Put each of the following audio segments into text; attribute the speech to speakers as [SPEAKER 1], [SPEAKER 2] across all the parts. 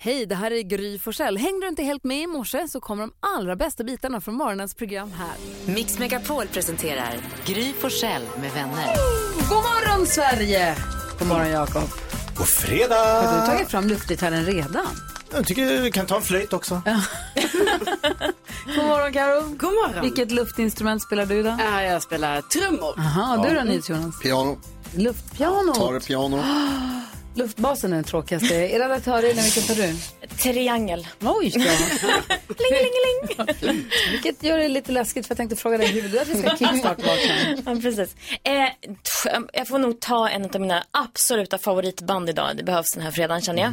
[SPEAKER 1] Hej, det här är Gry Forssell. Hängde du inte helt med i morse så kommer de allra bästa bitarna från morgonens program här.
[SPEAKER 2] Mix Megapol presenterar Gry Forssell med vänner.
[SPEAKER 1] God morgon Sverige! God morgon Jakob.
[SPEAKER 3] God fredag!
[SPEAKER 1] Har du tagit fram luftgitarren redan?
[SPEAKER 3] Jag tycker vi kan ta en flöjt också.
[SPEAKER 1] God morgon Karo.
[SPEAKER 4] God morgon.
[SPEAKER 1] Vilket luftinstrument spelar du idag?
[SPEAKER 4] Ja, jag spelar trummor.
[SPEAKER 1] Aha, du då Nils-Jonas?
[SPEAKER 5] Piano,
[SPEAKER 1] Luftpiano.
[SPEAKER 5] piano.
[SPEAKER 1] Luftbasen är den tråkigaste. Er redaktör Elin, vilken tar du?
[SPEAKER 6] Triangel.
[SPEAKER 1] Oj då. Vilket gör det lite läskigt för jag tänkte fråga dig hur du att vi ska kickstart-vakna.
[SPEAKER 6] Ja, precis. Eh, tch, jag får nog ta en av mina absoluta favoritband idag. Det behövs den här fredagen känner jag.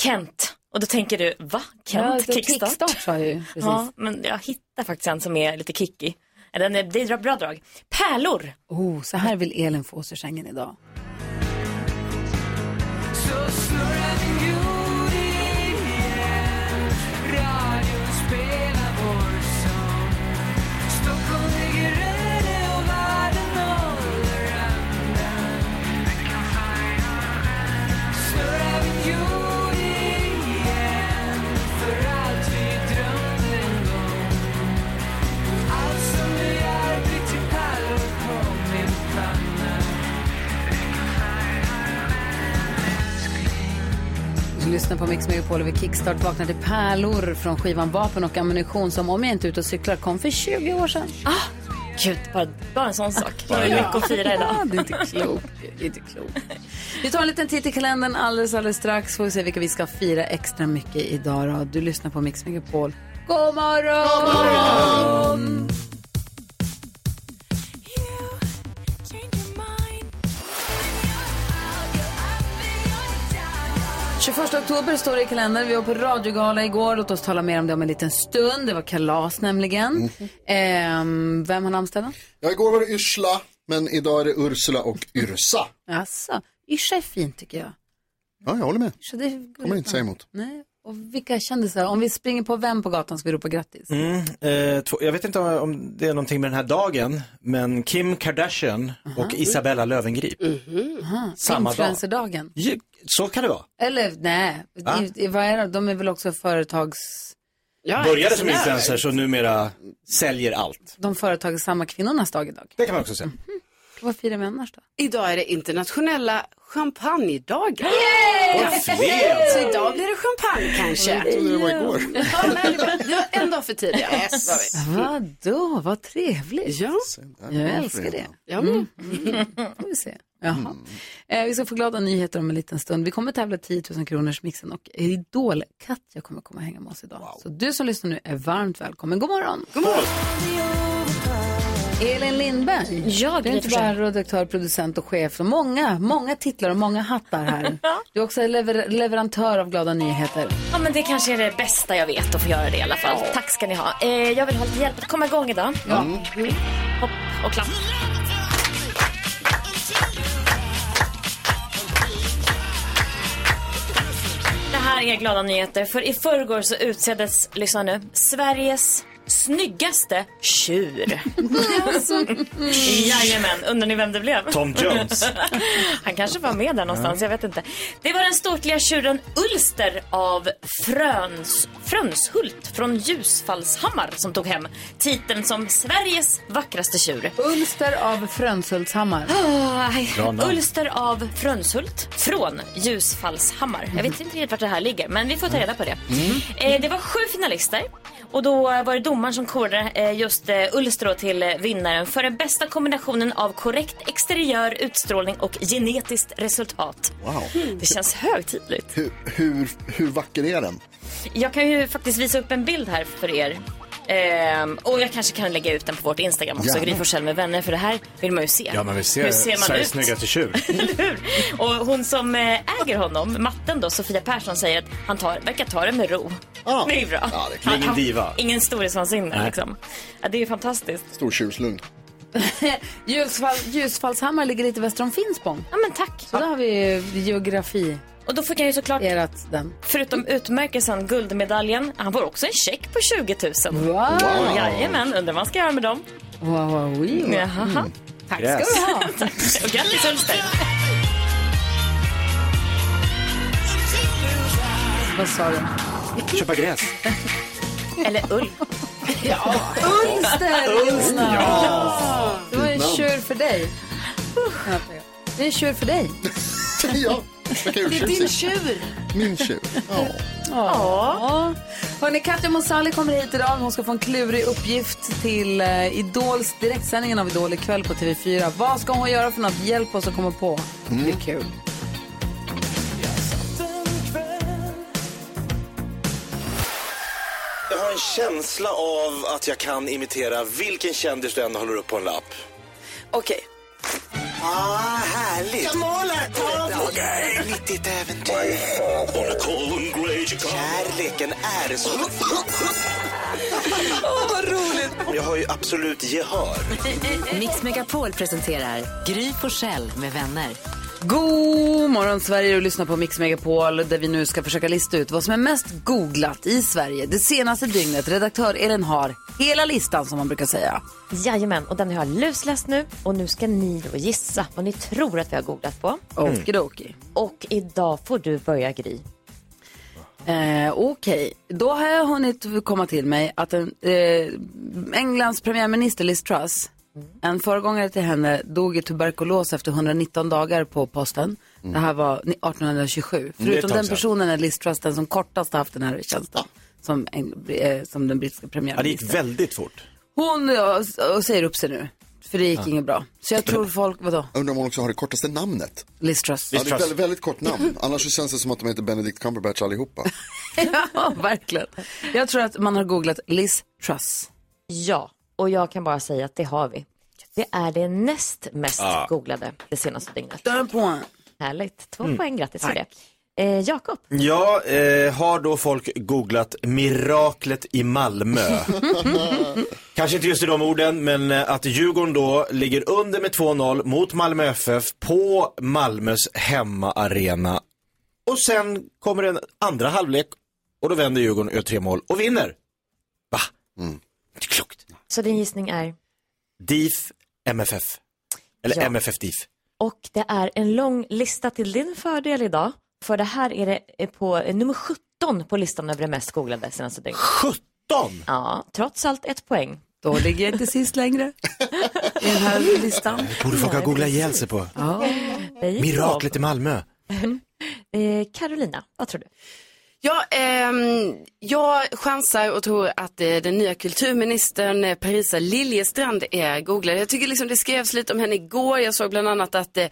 [SPEAKER 6] Kent. Och då tänker du, va? Kent?
[SPEAKER 1] Mm. Mhm. Ja, så
[SPEAKER 6] kickstart?
[SPEAKER 1] kickstart sa jag ju. Precis.
[SPEAKER 6] Ja, men jag hittar faktiskt en som är lite kickig. Eh, Den är, det är ett bra drag. Pärlor.
[SPEAKER 1] Oh, så här vill Elin få oss ur sängen idag. Du lyssnar på Mix Megapol över Kickstart vaknar till pärlor från skivan Vapen och ammunition som om jag inte är ute och cyklar kom för 20 år sedan.
[SPEAKER 6] Gud, bara, bara en sån sak. Bara ja. mycket att fira
[SPEAKER 1] Ah,
[SPEAKER 6] idag.
[SPEAKER 1] det är inte klokt. Det är inte klokt. Vi tar en liten titt i kalendern alldeles, alldeles strax. Får vi se vilka vi ska fira extra mycket idag då. Du lyssnar på Mix Megapol. God morgon! God morgon! oktober står det i kalendern. Vi var på radiogala igår. Låt oss tala mer om det om en liten stund. Det var kalas nämligen. Ehm, vem har namnsdagen?
[SPEAKER 7] Ja, igår var det Yrsla, men idag är det Ursula och Yrsa.
[SPEAKER 1] Jaså, Yrsa är fint tycker jag.
[SPEAKER 7] Ja, jag håller med.
[SPEAKER 1] Så det
[SPEAKER 7] Kommer inte säga emot.
[SPEAKER 1] Nej. Och vilka kändisar? Om vi springer på vem på gatan ska vi ropa grattis?
[SPEAKER 3] Mm, eh, två, jag vet inte om- om det är någonting med den här dagen, men Kim Kardashian och Isabella Löwengrip.
[SPEAKER 1] Mm.
[SPEAKER 3] Samma dag.
[SPEAKER 1] Influencerdagen.
[SPEAKER 3] Ja, Så kan det vara.
[SPEAKER 1] Eller nej,
[SPEAKER 3] Va?
[SPEAKER 1] I, i, vad är det? de är väl också företags...
[SPEAKER 4] Jag är
[SPEAKER 3] Började som
[SPEAKER 4] sådär.
[SPEAKER 3] influencer och numera säljer allt.
[SPEAKER 1] De företag är samma kvinnornas dag idag.
[SPEAKER 3] Det kan man också
[SPEAKER 1] Mm.
[SPEAKER 3] säga.
[SPEAKER 1] Vad firar vi annars då?
[SPEAKER 4] Idag är det internationella champagnedagen.
[SPEAKER 3] Och fler!
[SPEAKER 4] Så idag blir det champagne kanske.
[SPEAKER 7] Det var igår.
[SPEAKER 4] Ja, nej, det var- det var en dag för tidigt. Yes. var vi.
[SPEAKER 1] Vadå, vad trevligt.
[SPEAKER 4] Ja,
[SPEAKER 1] Jag älskar det. Mm.
[SPEAKER 4] jag med.
[SPEAKER 1] Får vi se. Jaha. Eh, vi ska få glada nyheter om en liten stund. Vi kommer tävla 10 000 kronors mixen och Idol Katja kommer komma och hänga med oss idag. Så du som lyssnar nu är varmt välkommen. God morgon! God morgon! Elin Lindberg,
[SPEAKER 6] Ja,
[SPEAKER 1] du är
[SPEAKER 6] Gry
[SPEAKER 1] inte bara
[SPEAKER 6] Forssell.
[SPEAKER 1] redaktör, producent och chef. Och många, många titlar och många hattar här. Du är också lever- leverantör av glada nyheter.
[SPEAKER 6] Ja, men det kanske är det bästa jag vet att få göra det i alla fall. Tack ska ni ha. Eh, jag vill ha lite hjälp att komma igång idag. Mm. Hopp och klapp. Det här är glada nyheter, för i förrgår så utseddes, lyssna nu, Sveriges snyggaste tjur. Mm. Jajamän, undrar ni vem det blev?
[SPEAKER 3] Tom Jones.
[SPEAKER 6] Han kanske var med där någonstans, jag vet inte. Det var den ståtliga tjuren Ulster av Fröns, Frönshult från Ljusfallshammar som tog hem titeln som Sveriges vackraste tjur.
[SPEAKER 1] Ulster av Frönshultshammar.
[SPEAKER 6] Ah, Aj,
[SPEAKER 3] Bra namn.
[SPEAKER 6] Ulster av Frönshult från Ljusfallshammar. Jag vet inte riktigt vart det här ligger, men vi får ta reda på det.
[SPEAKER 2] Mm.
[SPEAKER 6] Eh, det var sju finalister. Och då var det domaren som korade eh, just eh, Ulster då till eh, vinnaren för den bästa kombinationen av korrekt exteriör, utstrålning och genetiskt resultat.
[SPEAKER 7] Wow.
[SPEAKER 6] Det känns högtidligt.
[SPEAKER 7] Hur, hur, hur vacker är den?
[SPEAKER 6] Jag kan ju faktiskt visa upp en bild här för er. Ehm, och jag kanske kan lägga ut den på vårt Instagram också,
[SPEAKER 7] Gärna.
[SPEAKER 6] Gry Forssell med vänner, för det här vill man ju se.
[SPEAKER 3] Ja, men vi ser,
[SPEAKER 6] Hur ser man
[SPEAKER 3] Sveriges
[SPEAKER 6] ut?
[SPEAKER 3] snyggaste tjur.
[SPEAKER 6] Eller hur? Och hon som eh, äger honom, matten då, Sofia Persson, säger att han tar, verkar ta det med ro.
[SPEAKER 7] Ja.
[SPEAKER 6] Det är ju bra.
[SPEAKER 7] Ja, det är
[SPEAKER 3] klart. Ingen diva.
[SPEAKER 6] Ingen storhetsvansinne
[SPEAKER 3] Nej.
[SPEAKER 6] liksom. Ja, det är ju fantastiskt.
[SPEAKER 7] Stor tjurslugn.
[SPEAKER 1] Ljusfall, Ljusfallshammar ligger lite väster om Finspång.
[SPEAKER 6] Ja, men tack.
[SPEAKER 1] Så där har vi eh, geografi,
[SPEAKER 6] Och då fick han ju såklart,
[SPEAKER 1] erat den.
[SPEAKER 6] förutom utmärkelsen, guldmedaljen. Han får också en check på 20 000.
[SPEAKER 1] Wow,
[SPEAKER 6] Wow. Jajamän, undrar vad han ska göra med dem.
[SPEAKER 1] wow, wow, wow. Mm.
[SPEAKER 6] Jaha.
[SPEAKER 1] Tack ska
[SPEAKER 3] Yes.
[SPEAKER 1] du ha.
[SPEAKER 6] Och grattis Ulster.
[SPEAKER 1] Vad sa du?
[SPEAKER 3] Köpa gräs.
[SPEAKER 6] Eller ull.
[SPEAKER 1] Ulster! Lyssna. Det var en
[SPEAKER 7] Fint namn.
[SPEAKER 1] tjur för dig. Knappt. Det är en tjur för dig.
[SPEAKER 7] ja, det är din tjur. Min tjur. Ja.
[SPEAKER 1] Ja. Hörni, Katja Monsali kommer hit idag. Hon ska få en klurig uppgift till eh, Idols direktsändningen av Idol ikväll på TV4. Vad ska hon göra för något? Hjälp oss att komma på.
[SPEAKER 4] Mm.
[SPEAKER 1] Det är kul.
[SPEAKER 3] Jag har en känsla av att jag kan imitera vilken kändis du än håller upp på en lapp.
[SPEAKER 4] Okej.
[SPEAKER 3] Ah, härligt! Molotov! Ett litet äventyr. Kärleken är så... Åh, vad roligt! Jag har ju absolut gehör.
[SPEAKER 2] Mix Megapol presenterar Gry Forssell med vänner.
[SPEAKER 1] God morgon Sverige och lyssna på Mix Megapol där vi nu ska försöka lista ut vad som är mest googlat i Sverige det senaste dygnet. Redaktör Elin har hela listan som man brukar säga.
[SPEAKER 6] Jajamän, och den har jag lusläst nu. Och nu ska ni då gissa vad ni tror att vi har googlat på.
[SPEAKER 1] Okidoki.
[SPEAKER 6] Och idag får du börja Gry.
[SPEAKER 1] Eh, Okej, då har jag hunnit komma till mig att en, eh, Englands premiärminister Liz Truss,
[SPEAKER 3] Mm.
[SPEAKER 1] en föregångare till henne, dog i tuberkulos efter 119 dagar på posten.
[SPEAKER 3] Mm.
[SPEAKER 1] Det här var ni- 1827.
[SPEAKER 3] ett
[SPEAKER 1] Förutom
[SPEAKER 3] tag
[SPEAKER 1] den
[SPEAKER 3] sedan.
[SPEAKER 1] personen är Liz Truss den som kortast har haft den här tjänsten. Som, en, eh, som den brittiska
[SPEAKER 3] Ja, det gick
[SPEAKER 1] premiärministern.
[SPEAKER 3] väldigt fort.
[SPEAKER 1] Hon ja, s- och säger upp sig nu, för det gick inget bra. Så jag tror folk, vadå?
[SPEAKER 7] Jag Undrar om hon också har det kortaste namnet.
[SPEAKER 1] Liz Truss.
[SPEAKER 7] Ja, det är ett väldigt, väldigt kort namn. Annars så känns det som att de heter Benedict Cumberbatch allihopa.
[SPEAKER 1] ja, verkligen. Jag tror att man har googlat Liz Truss.
[SPEAKER 6] Ja, och jag kan bara säga att det har vi. Det är det näst mest googlade det senaste dygnet.
[SPEAKER 1] Där på.
[SPEAKER 6] Härligt. Två poäng, grattis för det. Eh, Jakob,
[SPEAKER 3] Ja, eh, har då folk googlat miraklet i Malmö? Kanske inte just i de orden, men eh, att Djurgården då ligger under med 2-0 mot Malmö FF på Malmös hemmaarena. Och sen kommer en andra halvlek och då vänder Djurgården och gör tre mål och vinner. Va?
[SPEAKER 7] Mm.
[SPEAKER 3] Inte klokt.
[SPEAKER 6] så din gissning är?
[SPEAKER 3] DIF MFF. Eller
[SPEAKER 6] Ja.
[SPEAKER 3] MFF DIF.
[SPEAKER 6] Och det är en lång lista till din fördel idag. För det här är det eh, på eh, nummer 17 på listan över det mest googlade senaste dygnet.
[SPEAKER 3] 17!
[SPEAKER 6] Ja, trots allt ett poäng.
[SPEAKER 1] Då ligger jag inte sist längre i den här listan.
[SPEAKER 3] Borde folk ha googlat ihjäl sig på.
[SPEAKER 6] Det gick
[SPEAKER 3] Miraklet i Malmö.
[SPEAKER 6] bra. Eh, Carolina, vad tror du?
[SPEAKER 4] Ja, ehm, jag chansar och tror att eh, den nya kulturministern eh, Parisa Liljestrand är googlad. Jag tycker liksom det skrevs lite om henne igår. Jag såg bland annat att eh,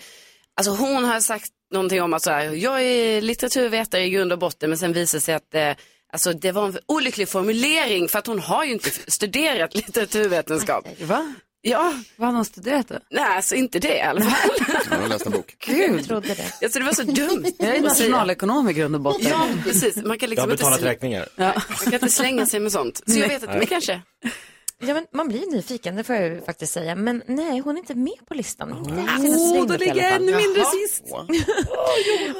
[SPEAKER 4] alltså hon har sagt någonting om att så här, jag är litteraturvetare i grund och botten men sen visar det sig att eh, alltså, det var en olycklig formulering för att hon har ju inte studerat litteraturvetenskap.
[SPEAKER 1] Va?
[SPEAKER 4] Ja,
[SPEAKER 1] Vad har någon studerat det?
[SPEAKER 4] nej alltså inte det i alla fall.
[SPEAKER 7] Jag har läst en bok.
[SPEAKER 6] Jag trodde det.
[SPEAKER 4] Alltså, det var så dumt.
[SPEAKER 1] Jag är
[SPEAKER 4] att säga.
[SPEAKER 1] nationalekonom i grund och botten.
[SPEAKER 4] Ja, precis. Man kan
[SPEAKER 3] Jag har
[SPEAKER 4] liksom inte,
[SPEAKER 3] betalat
[SPEAKER 4] sl-
[SPEAKER 3] räkningar.
[SPEAKER 4] man kan inte slänga sig med sånt. Så jag vet inte, men kanske.
[SPEAKER 6] Ja, men man blir nyfiken, det får jag ju faktiskt säga. Men nej, hon är inte med på listan. Inte här senaste
[SPEAKER 1] Åh, då
[SPEAKER 6] dygnet i
[SPEAKER 1] ligger
[SPEAKER 6] alla
[SPEAKER 1] jag
[SPEAKER 6] fall.
[SPEAKER 1] ännu mindre sist.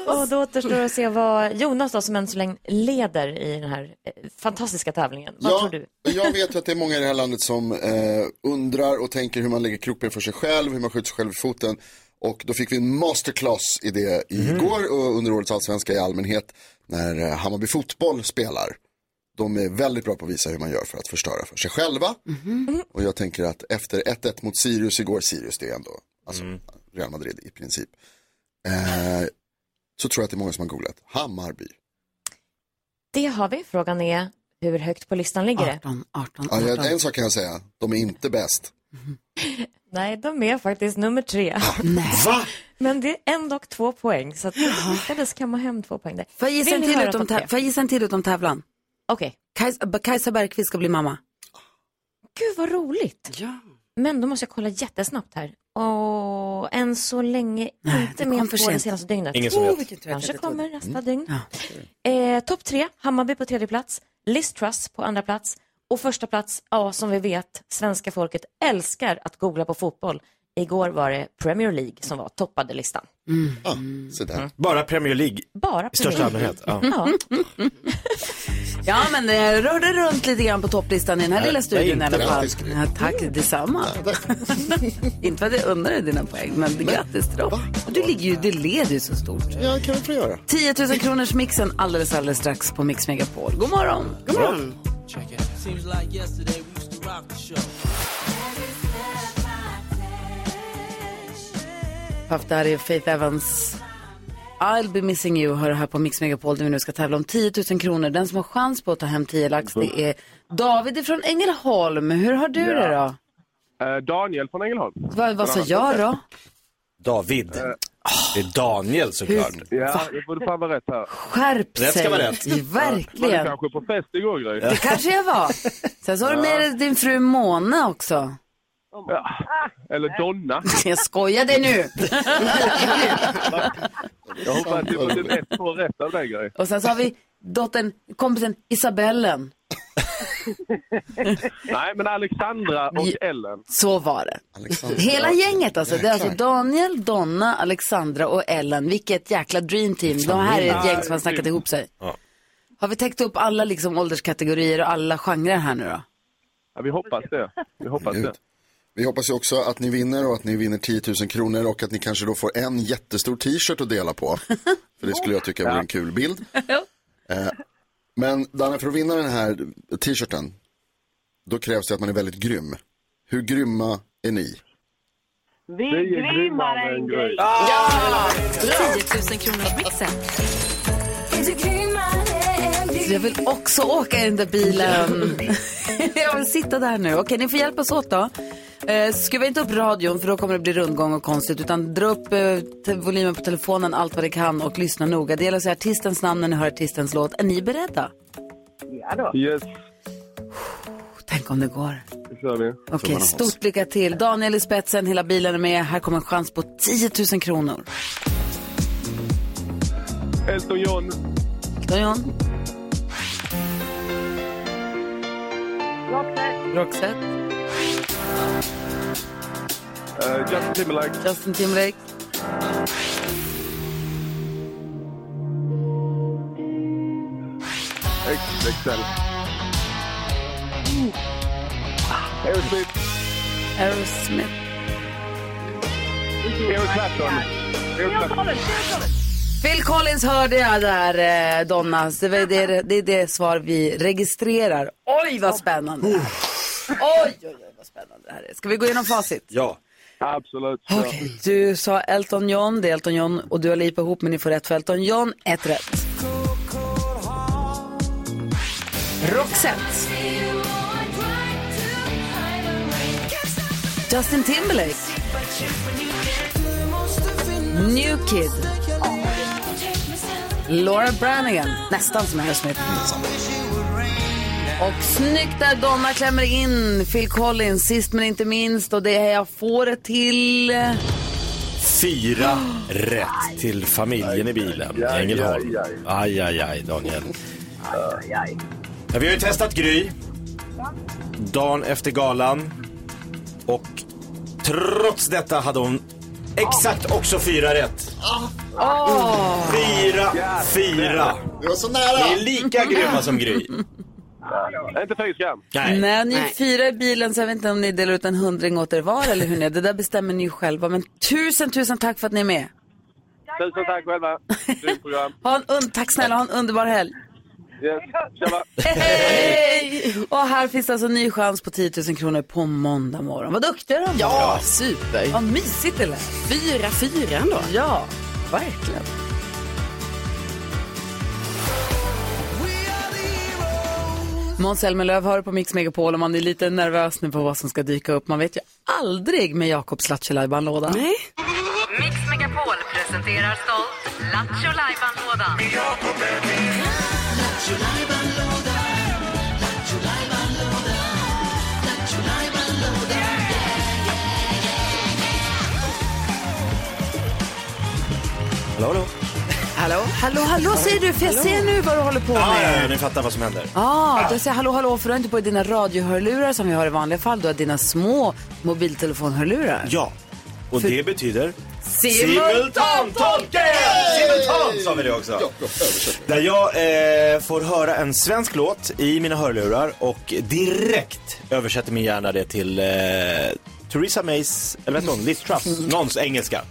[SPEAKER 6] Och då återstår att se vad Jonas då, som än så länge leder i den här eh, fantastiska tävlingen. Vad tror du?
[SPEAKER 7] jag vet ju att det är många i det här landet som eh, undrar och tänker hur man lägger krokben för sig själv, hur man skjuter sig själv i foten. Och då fick vi en masterclass i det
[SPEAKER 6] Mhm.
[SPEAKER 7] igår och under årets allsvenska i allmänhet när eh, Hammarby fotboll spelar. De är väldigt bra på att visa hur man gör för att förstöra för sig själva. Och jag tänker att efter 1-1 mot Sirius igår, Sirius det är ändå alltså,
[SPEAKER 6] Mm.
[SPEAKER 7] Real Madrid i princip. Eh, så tror jag att det är många som har googlat Hammarby.
[SPEAKER 6] Det har vi. Frågan är hur högt på listan ligger det?
[SPEAKER 1] 18, 18,
[SPEAKER 6] Mm.
[SPEAKER 7] Ja,
[SPEAKER 1] 18.
[SPEAKER 7] jag- en sak kan jag säga, de är inte bäst.
[SPEAKER 6] Nej, de är faktiskt nummer tre.
[SPEAKER 3] Va?
[SPEAKER 6] Men det är ändå två poäng, så att de lyckades kamma hem två poäng där.
[SPEAKER 1] Får jag gissa
[SPEAKER 6] Vill
[SPEAKER 1] en
[SPEAKER 6] ni
[SPEAKER 1] till
[SPEAKER 6] höra
[SPEAKER 1] utom
[SPEAKER 6] topp tre?
[SPEAKER 1] tä- får jag gissa en till utom tävlan?
[SPEAKER 6] Okej.
[SPEAKER 1] Kajsa, B- Kajsa Bergqvist ska bli mamma.
[SPEAKER 6] Gud, vad roligt.
[SPEAKER 4] Ja.
[SPEAKER 6] Men då måste jag kolla jättesnabbt här. Åh, än så länge inte
[SPEAKER 1] kom
[SPEAKER 6] med
[SPEAKER 1] för
[SPEAKER 6] på det
[SPEAKER 1] sent.
[SPEAKER 6] senaste dygnet.
[SPEAKER 3] Ingen som vet.
[SPEAKER 6] Kanske kommer
[SPEAKER 1] Mm.
[SPEAKER 6] nästa dygn. Eh, Topp tre, Hammarby på tredje plats, Liz Truss på andra plats Och första plats, ja som vi vet, svenska folket älskar att googla på fotboll. Igår var det Premier League som var toppade listan.
[SPEAKER 3] Mm.
[SPEAKER 7] Ah, så där.
[SPEAKER 3] Bara Premier League
[SPEAKER 6] Bara
[SPEAKER 3] i största
[SPEAKER 6] Premier League.
[SPEAKER 3] allmänhet. Ja.
[SPEAKER 6] Ja.
[SPEAKER 1] Ja, men det rörde runt lite grann på topplistan i den här lilla studion i
[SPEAKER 3] nej,
[SPEAKER 1] alla fall.
[SPEAKER 7] grattis, Gry.
[SPEAKER 1] Ja, tack detsamma. inte för att jag undrar dig dina poäng, men grattis till dem.
[SPEAKER 7] va?
[SPEAKER 1] Och Du, ligger ju, du leder ju så stort.
[SPEAKER 7] Ja, det kan vi få göra.
[SPEAKER 1] 10 000 kronors mixen alldeles, alldeles strax på Mix Megapol. God morgon! God morgon! Puff Daddy och Faith Evans. I'll be missing you hör här på Mix Megapol där vi nu ska tävla om 10 000 kronor. Den som har chans på att ta hem 10 lax det är David från Ängelholm. Hur har du det då?
[SPEAKER 8] Eh, Daniel från Ängelholm. Eh.
[SPEAKER 1] Vad, vad sa jag då?
[SPEAKER 3] David. Det är Daniel såklart.
[SPEAKER 8] Ja, det får du fan vara rätt här.
[SPEAKER 1] Skärp sig!
[SPEAKER 3] Rätt ska vara rätt.
[SPEAKER 8] Var du
[SPEAKER 1] Verkligen!
[SPEAKER 8] kanske på fest igår Gry?
[SPEAKER 1] Det kanske jag var. Sen så har du med dig din fru Mona också.
[SPEAKER 8] Ja. Eller Donna.
[SPEAKER 1] Jag skojade nu.
[SPEAKER 8] Jag hoppas att du får typ ett, två rätt av dig Gry.
[SPEAKER 1] Och sen så har vi dottern, kompisen Isabellen.
[SPEAKER 8] Nej, men Alexandra och
[SPEAKER 1] Ja.
[SPEAKER 8] Ellen.
[SPEAKER 1] Så var det.
[SPEAKER 7] Alexander.
[SPEAKER 1] Hela gänget alltså. Det är alltså Daniel, Donna, Alexandra och Ellen. Vilket jäkla dream team. De här är ett gäng som har snackat ihop sig. Har vi täckt upp alla liksom ålderskategorier och alla genrer här nu då?
[SPEAKER 8] Ja, vi hoppas det. Vi hoppas det.
[SPEAKER 7] Vi hoppas ju också att ni vinner och att ni vinner 10 000 kronor och att ni kanske då får en jättestor t-shirt att dela på. För det skulle jag tycka vore en kul bild. Eh, Men Danne, för att vinna den här t-shirten, då krävs det att man är väldigt grym. Hur grymma är ni?
[SPEAKER 8] Vi är grymmare än Gry.
[SPEAKER 2] 10 000 kronors mixen.
[SPEAKER 1] Så jag vill också åka i den där bilen. jag vill sitta där nu. Okej, ni får hjälpas åt då. Eh, skruva inte upp radion för då kommer det bli rundgång och konstigt. Utan dra upp eh, te- volymen på telefonen allt vad det kan och lyssna noga. Det gäller att säga artistens namn när ni hör artistens låt. Är ni beredda?
[SPEAKER 8] Yes,
[SPEAKER 1] Tänk om det går.
[SPEAKER 8] det kör vi.
[SPEAKER 1] Okej, stort lycka till. Daniel i spetsen, hela bilen är med. Här kommer en chans på 10 000 kronor.
[SPEAKER 8] Elton John,
[SPEAKER 1] Elton John. Roxette.
[SPEAKER 8] eh, Justin Timberlake,
[SPEAKER 1] Justin Timberlake.
[SPEAKER 8] XXL. Aerosmith,
[SPEAKER 1] Aerosmith.
[SPEAKER 8] Eric Clapton. Eric Clapton.
[SPEAKER 1] Phil Collins hörde jag där, eh, Donna. Så Det, är det, det är det svar vi registrerar. Oj, vad spännande!
[SPEAKER 8] Oh.
[SPEAKER 1] Oj, oj, oj, vad spännande det här är. Ska vi gå igenom facit?
[SPEAKER 3] Ja.
[SPEAKER 8] Absolut.
[SPEAKER 1] Okej, du sa Elton John, det är Elton John och du har Lipa ihop, men ni får rätt för Elton John. Ett rätt. Roxette. Justin Timberlake. New Kid. Laura Branigan, nästan som Aerosmith. Och snyggt där Donna klämmer in Phil Collins sist men inte minst och det är jag får det till.
[SPEAKER 3] Fyra rätt till familjen i bilen. Ängelholm. Aj, aj, aj, Daniel. Ja, vi har ju testat Gry. Dagen efter galan. Och trots detta hade hon exakt också fyra rätt. Fyra, fyra.
[SPEAKER 7] Det var så
[SPEAKER 3] Ni är
[SPEAKER 7] nära!
[SPEAKER 3] lika grymma som Gry.
[SPEAKER 8] Inte fy skam.
[SPEAKER 3] Nej.
[SPEAKER 1] Nej, ni är
[SPEAKER 4] Nej.
[SPEAKER 1] fyra i bilen så jag vet inte om ni delar ut en hundring åt er var eller hur ni är. Det där bestämmer ni ju själva men tusen tusen tack för att ni är med.
[SPEAKER 8] Tusen tack själva. Grymt program.
[SPEAKER 1] Ha en un- tack snälla, ha en underbar helg.
[SPEAKER 8] Yes, tjaba.
[SPEAKER 1] Hej! Och här finns alltså en ny chans på 10 000 kronor på måndag morgon. Vad duktiga de var.
[SPEAKER 4] Ja, super.
[SPEAKER 1] Vad mysigt det lät.
[SPEAKER 4] Fyra, fyra ändå.
[SPEAKER 1] Ja, verkligen. Måns Zelmerlöw hör på Mix Megapol och man är lite nervös nu på vad som ska dyka upp. Man vet ju aldrig med Jakobs Lattjo Lajban-låda.
[SPEAKER 4] Nej.
[SPEAKER 2] Mix Megapol presenterar stolt Lattjo Lajban-lådan.
[SPEAKER 3] Hallå, hallå.
[SPEAKER 4] Hallå?
[SPEAKER 1] Hallå, hallå säger du, för jag ser nu vad du håller på
[SPEAKER 3] Ja, ja, ja,
[SPEAKER 1] med.
[SPEAKER 3] ni fattar vad som händer.
[SPEAKER 1] Ja, ah, du säger hallå, hallå, för du har inte på dig dina radiohörlurar som vi har i vanliga fall. Du har dina små mobiltelefonhörlurar.
[SPEAKER 3] Ja, och det betyder
[SPEAKER 1] Simultantolken!
[SPEAKER 3] simultantolken! Simultant sa vi det också.
[SPEAKER 7] Jakob, översätt.
[SPEAKER 3] Där jag eh, får höra en svensk låt i mina hörlurar och direkt översätter min hjärna det till eh, Theresa Mays, eller vad hette hon, Liz Truss,
[SPEAKER 7] Mm.
[SPEAKER 3] någons engelska.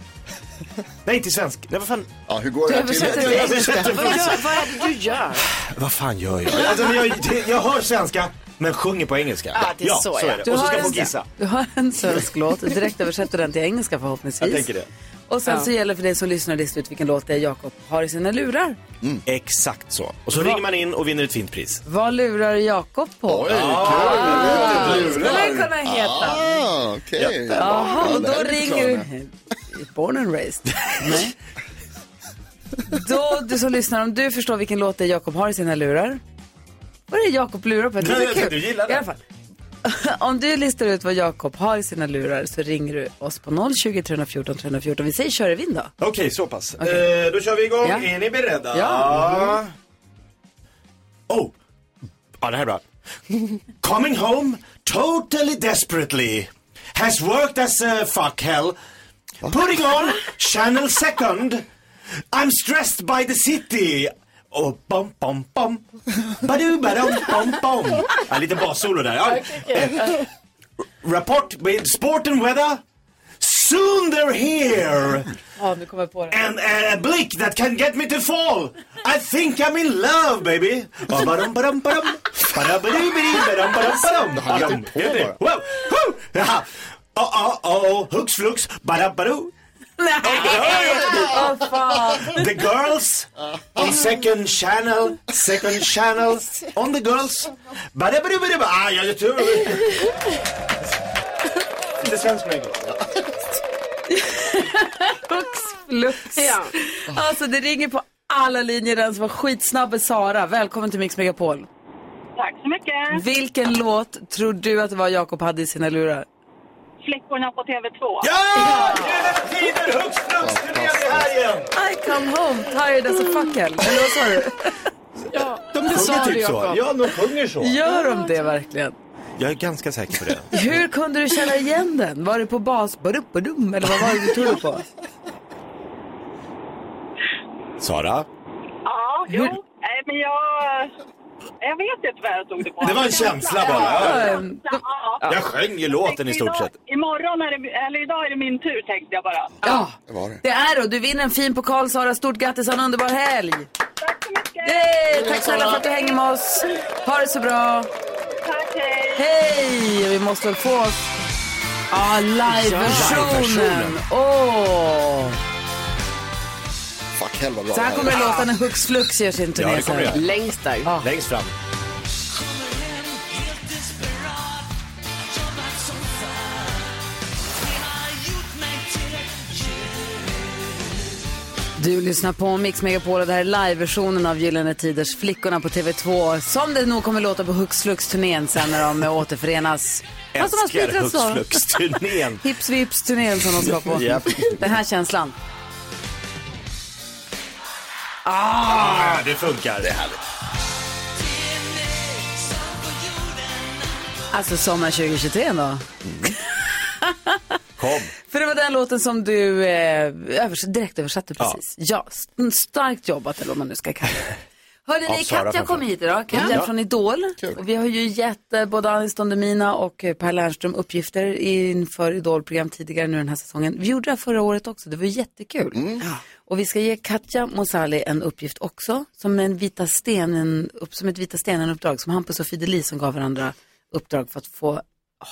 [SPEAKER 3] Nej, till svensk. Nej, vad fan,
[SPEAKER 7] Ja, hur går det här
[SPEAKER 1] översätter
[SPEAKER 7] till?
[SPEAKER 1] till-
[SPEAKER 4] Vad, gör, vad är det du gör?
[SPEAKER 3] vad fan gör jag? Alltså, men jag, det- jag hör svenska, men sjunger på engelska.
[SPEAKER 4] Ja, det är så, ja.
[SPEAKER 3] är det.
[SPEAKER 1] Du
[SPEAKER 3] Och så
[SPEAKER 1] har
[SPEAKER 3] ska jag få
[SPEAKER 1] en-
[SPEAKER 3] gissa.
[SPEAKER 1] Du har en svensk låt, direkt översätter den till engelska förhoppningsvis.
[SPEAKER 3] Jag tänker det.
[SPEAKER 1] Och sen så gäller för dig som lyssnar att lista ut vilken låt det är Jakob har i sina lurar.
[SPEAKER 3] Exakt så. Och så ringer man in och vinner ett fint pris.
[SPEAKER 1] Vad lurar Jakob på?
[SPEAKER 7] Oj, kul!
[SPEAKER 1] Skulle det kunna heta?
[SPEAKER 7] Ah, okej.
[SPEAKER 1] Jaha, och
[SPEAKER 7] det här
[SPEAKER 1] då
[SPEAKER 7] är lite
[SPEAKER 1] ringer
[SPEAKER 7] klarare.
[SPEAKER 1] du... Born and raised. Nej. Då, du som lyssnar, om du förstår vilken låt det är Jakob har i sina lurar. Vad är det Jakob lurar på? Jag tycker
[SPEAKER 3] Nej,
[SPEAKER 1] det är
[SPEAKER 3] jag
[SPEAKER 1] kul.
[SPEAKER 3] tyckte du gillade
[SPEAKER 1] I
[SPEAKER 3] det.
[SPEAKER 1] alla fall. Om du listar ut vad Jakob har i sina lurar så ringer du oss på 020 314 314. Vi säger kör i vind då.
[SPEAKER 3] Okej, så pass. Eh, då kör vi igång.
[SPEAKER 1] Ja.
[SPEAKER 3] Är ni beredda?
[SPEAKER 1] Ja.
[SPEAKER 3] Oh! Ja, det här är bra. Coming home totally desperately has worked as a fuck hell. Putting on channel second. I'm stressed by the city. Oh, bom, bom, bom. Badoo, badom, bom, bom. Ja, lite bassolo där. Ja. Eh, Rapport with sport and weather. Soon they're here.
[SPEAKER 1] Ja, nu kommer jag på det.
[SPEAKER 3] And uh, a blick that can get me to fall. I think I'm in love baby. Ah, badum, badum, badum. Badabadibidi, badum, badum, badum. Badum.
[SPEAKER 7] på.
[SPEAKER 3] Är det? Wow. Woo. Jaha. Oh, oh, oh, hux flux, badabadoo.
[SPEAKER 1] Åh, fan.
[SPEAKER 3] The girls on second channel, second channel, on the girls. Badabadoo, badabadoo. Ah, jag gör tur. Lite svensk med engelska.
[SPEAKER 1] Hux flux.
[SPEAKER 4] Ja.
[SPEAKER 1] Alltså det ringer på alla linjer. Den som var skitsnabb är Sara. Välkommen till Mix Megapol.
[SPEAKER 8] Tack så mycket.
[SPEAKER 1] Vilken låt tror du att det var Jakob hade i sina lurar?
[SPEAKER 8] Flickorna på TV2.
[SPEAKER 3] Ja! Gyllene Tider, hux flux, nu är vi här igen.
[SPEAKER 1] I come home tired as a fuck hell. alltså Eller vad sa du?
[SPEAKER 3] De sjunger typ så. Ja, de sjunger så.
[SPEAKER 1] Gör de det verkligen?
[SPEAKER 3] Jag är ganska säker på det.
[SPEAKER 1] Hur kunde du känna igen den? Var det på bas... Badum, badum, eller vad var det du trodde på?
[SPEAKER 3] Sara?
[SPEAKER 8] Ja, jo. Nej, men jag... Jag vet inte vad jag tog det på.
[SPEAKER 3] Det var en känsla bara.
[SPEAKER 1] Ehm,
[SPEAKER 8] Ja.
[SPEAKER 3] Jag sjöng ju låten i stort sett.
[SPEAKER 8] Imorgon är det, eller idag är det min tur tänkte jag bara.
[SPEAKER 1] Ja,
[SPEAKER 7] Det var det.
[SPEAKER 1] det är och Du vinner en fin pokal, Sara. Stort grattis och en underbar helg!
[SPEAKER 8] Tack så mycket.
[SPEAKER 1] Yay! Tack snälla för att du hänger med oss. Ha det så bra.
[SPEAKER 8] Tack, hej.
[SPEAKER 1] Hej! Vi måste väl få oss... Ah, liveversionen.
[SPEAKER 3] Liveversionen.
[SPEAKER 1] Åh!
[SPEAKER 7] Fuck, hell vad bra
[SPEAKER 1] Så här
[SPEAKER 7] det
[SPEAKER 1] kommer det
[SPEAKER 7] är.
[SPEAKER 1] låta när Hux Flux gör sin turné
[SPEAKER 3] Ja, det kommer
[SPEAKER 1] sen.
[SPEAKER 3] det.
[SPEAKER 4] Längst där.
[SPEAKER 3] Längst fram.
[SPEAKER 1] Du lyssnar på Mix Megapol och det här är liveversionen av Gyllene Tiders Flickorna på TV2 som det nog kommer låta på Hux Flux-turnén sen när de återförenas. Fast de har
[SPEAKER 3] Älskar Hux
[SPEAKER 1] splittrats då.
[SPEAKER 3] Flux-turnén.
[SPEAKER 1] Hips Vips-turnén som de ska på.
[SPEAKER 3] Japp.
[SPEAKER 1] Den här känslan.
[SPEAKER 3] Ah, det funkar. Det är härligt.
[SPEAKER 1] Alltså sommar 2023 då.
[SPEAKER 3] Mm. Kom.
[SPEAKER 1] För det var den låten som du eh, övers- direkt översatte precis. Ja, st- starkt jobbat eller vad man nu ska kalla det. Hörde
[SPEAKER 3] Ja,
[SPEAKER 1] ni,
[SPEAKER 3] Sara
[SPEAKER 1] Katja
[SPEAKER 3] framför.
[SPEAKER 1] kom hit idag, Katja från Idol. Och vi har ju gett eh, både Anis Don Demina och eh, Per Lernström uppgifter inför Idol-program tidigare nu den här säsongen. Vi gjorde det här förra året också, det var jättekul.
[SPEAKER 3] Mm.
[SPEAKER 1] Och vi ska ge Katja Mosali en uppgift också, som, en vita stenen, upp, som ett Vita stenen-uppdrag, som Hampus och Fidelis som gav varandra uppdrag för att få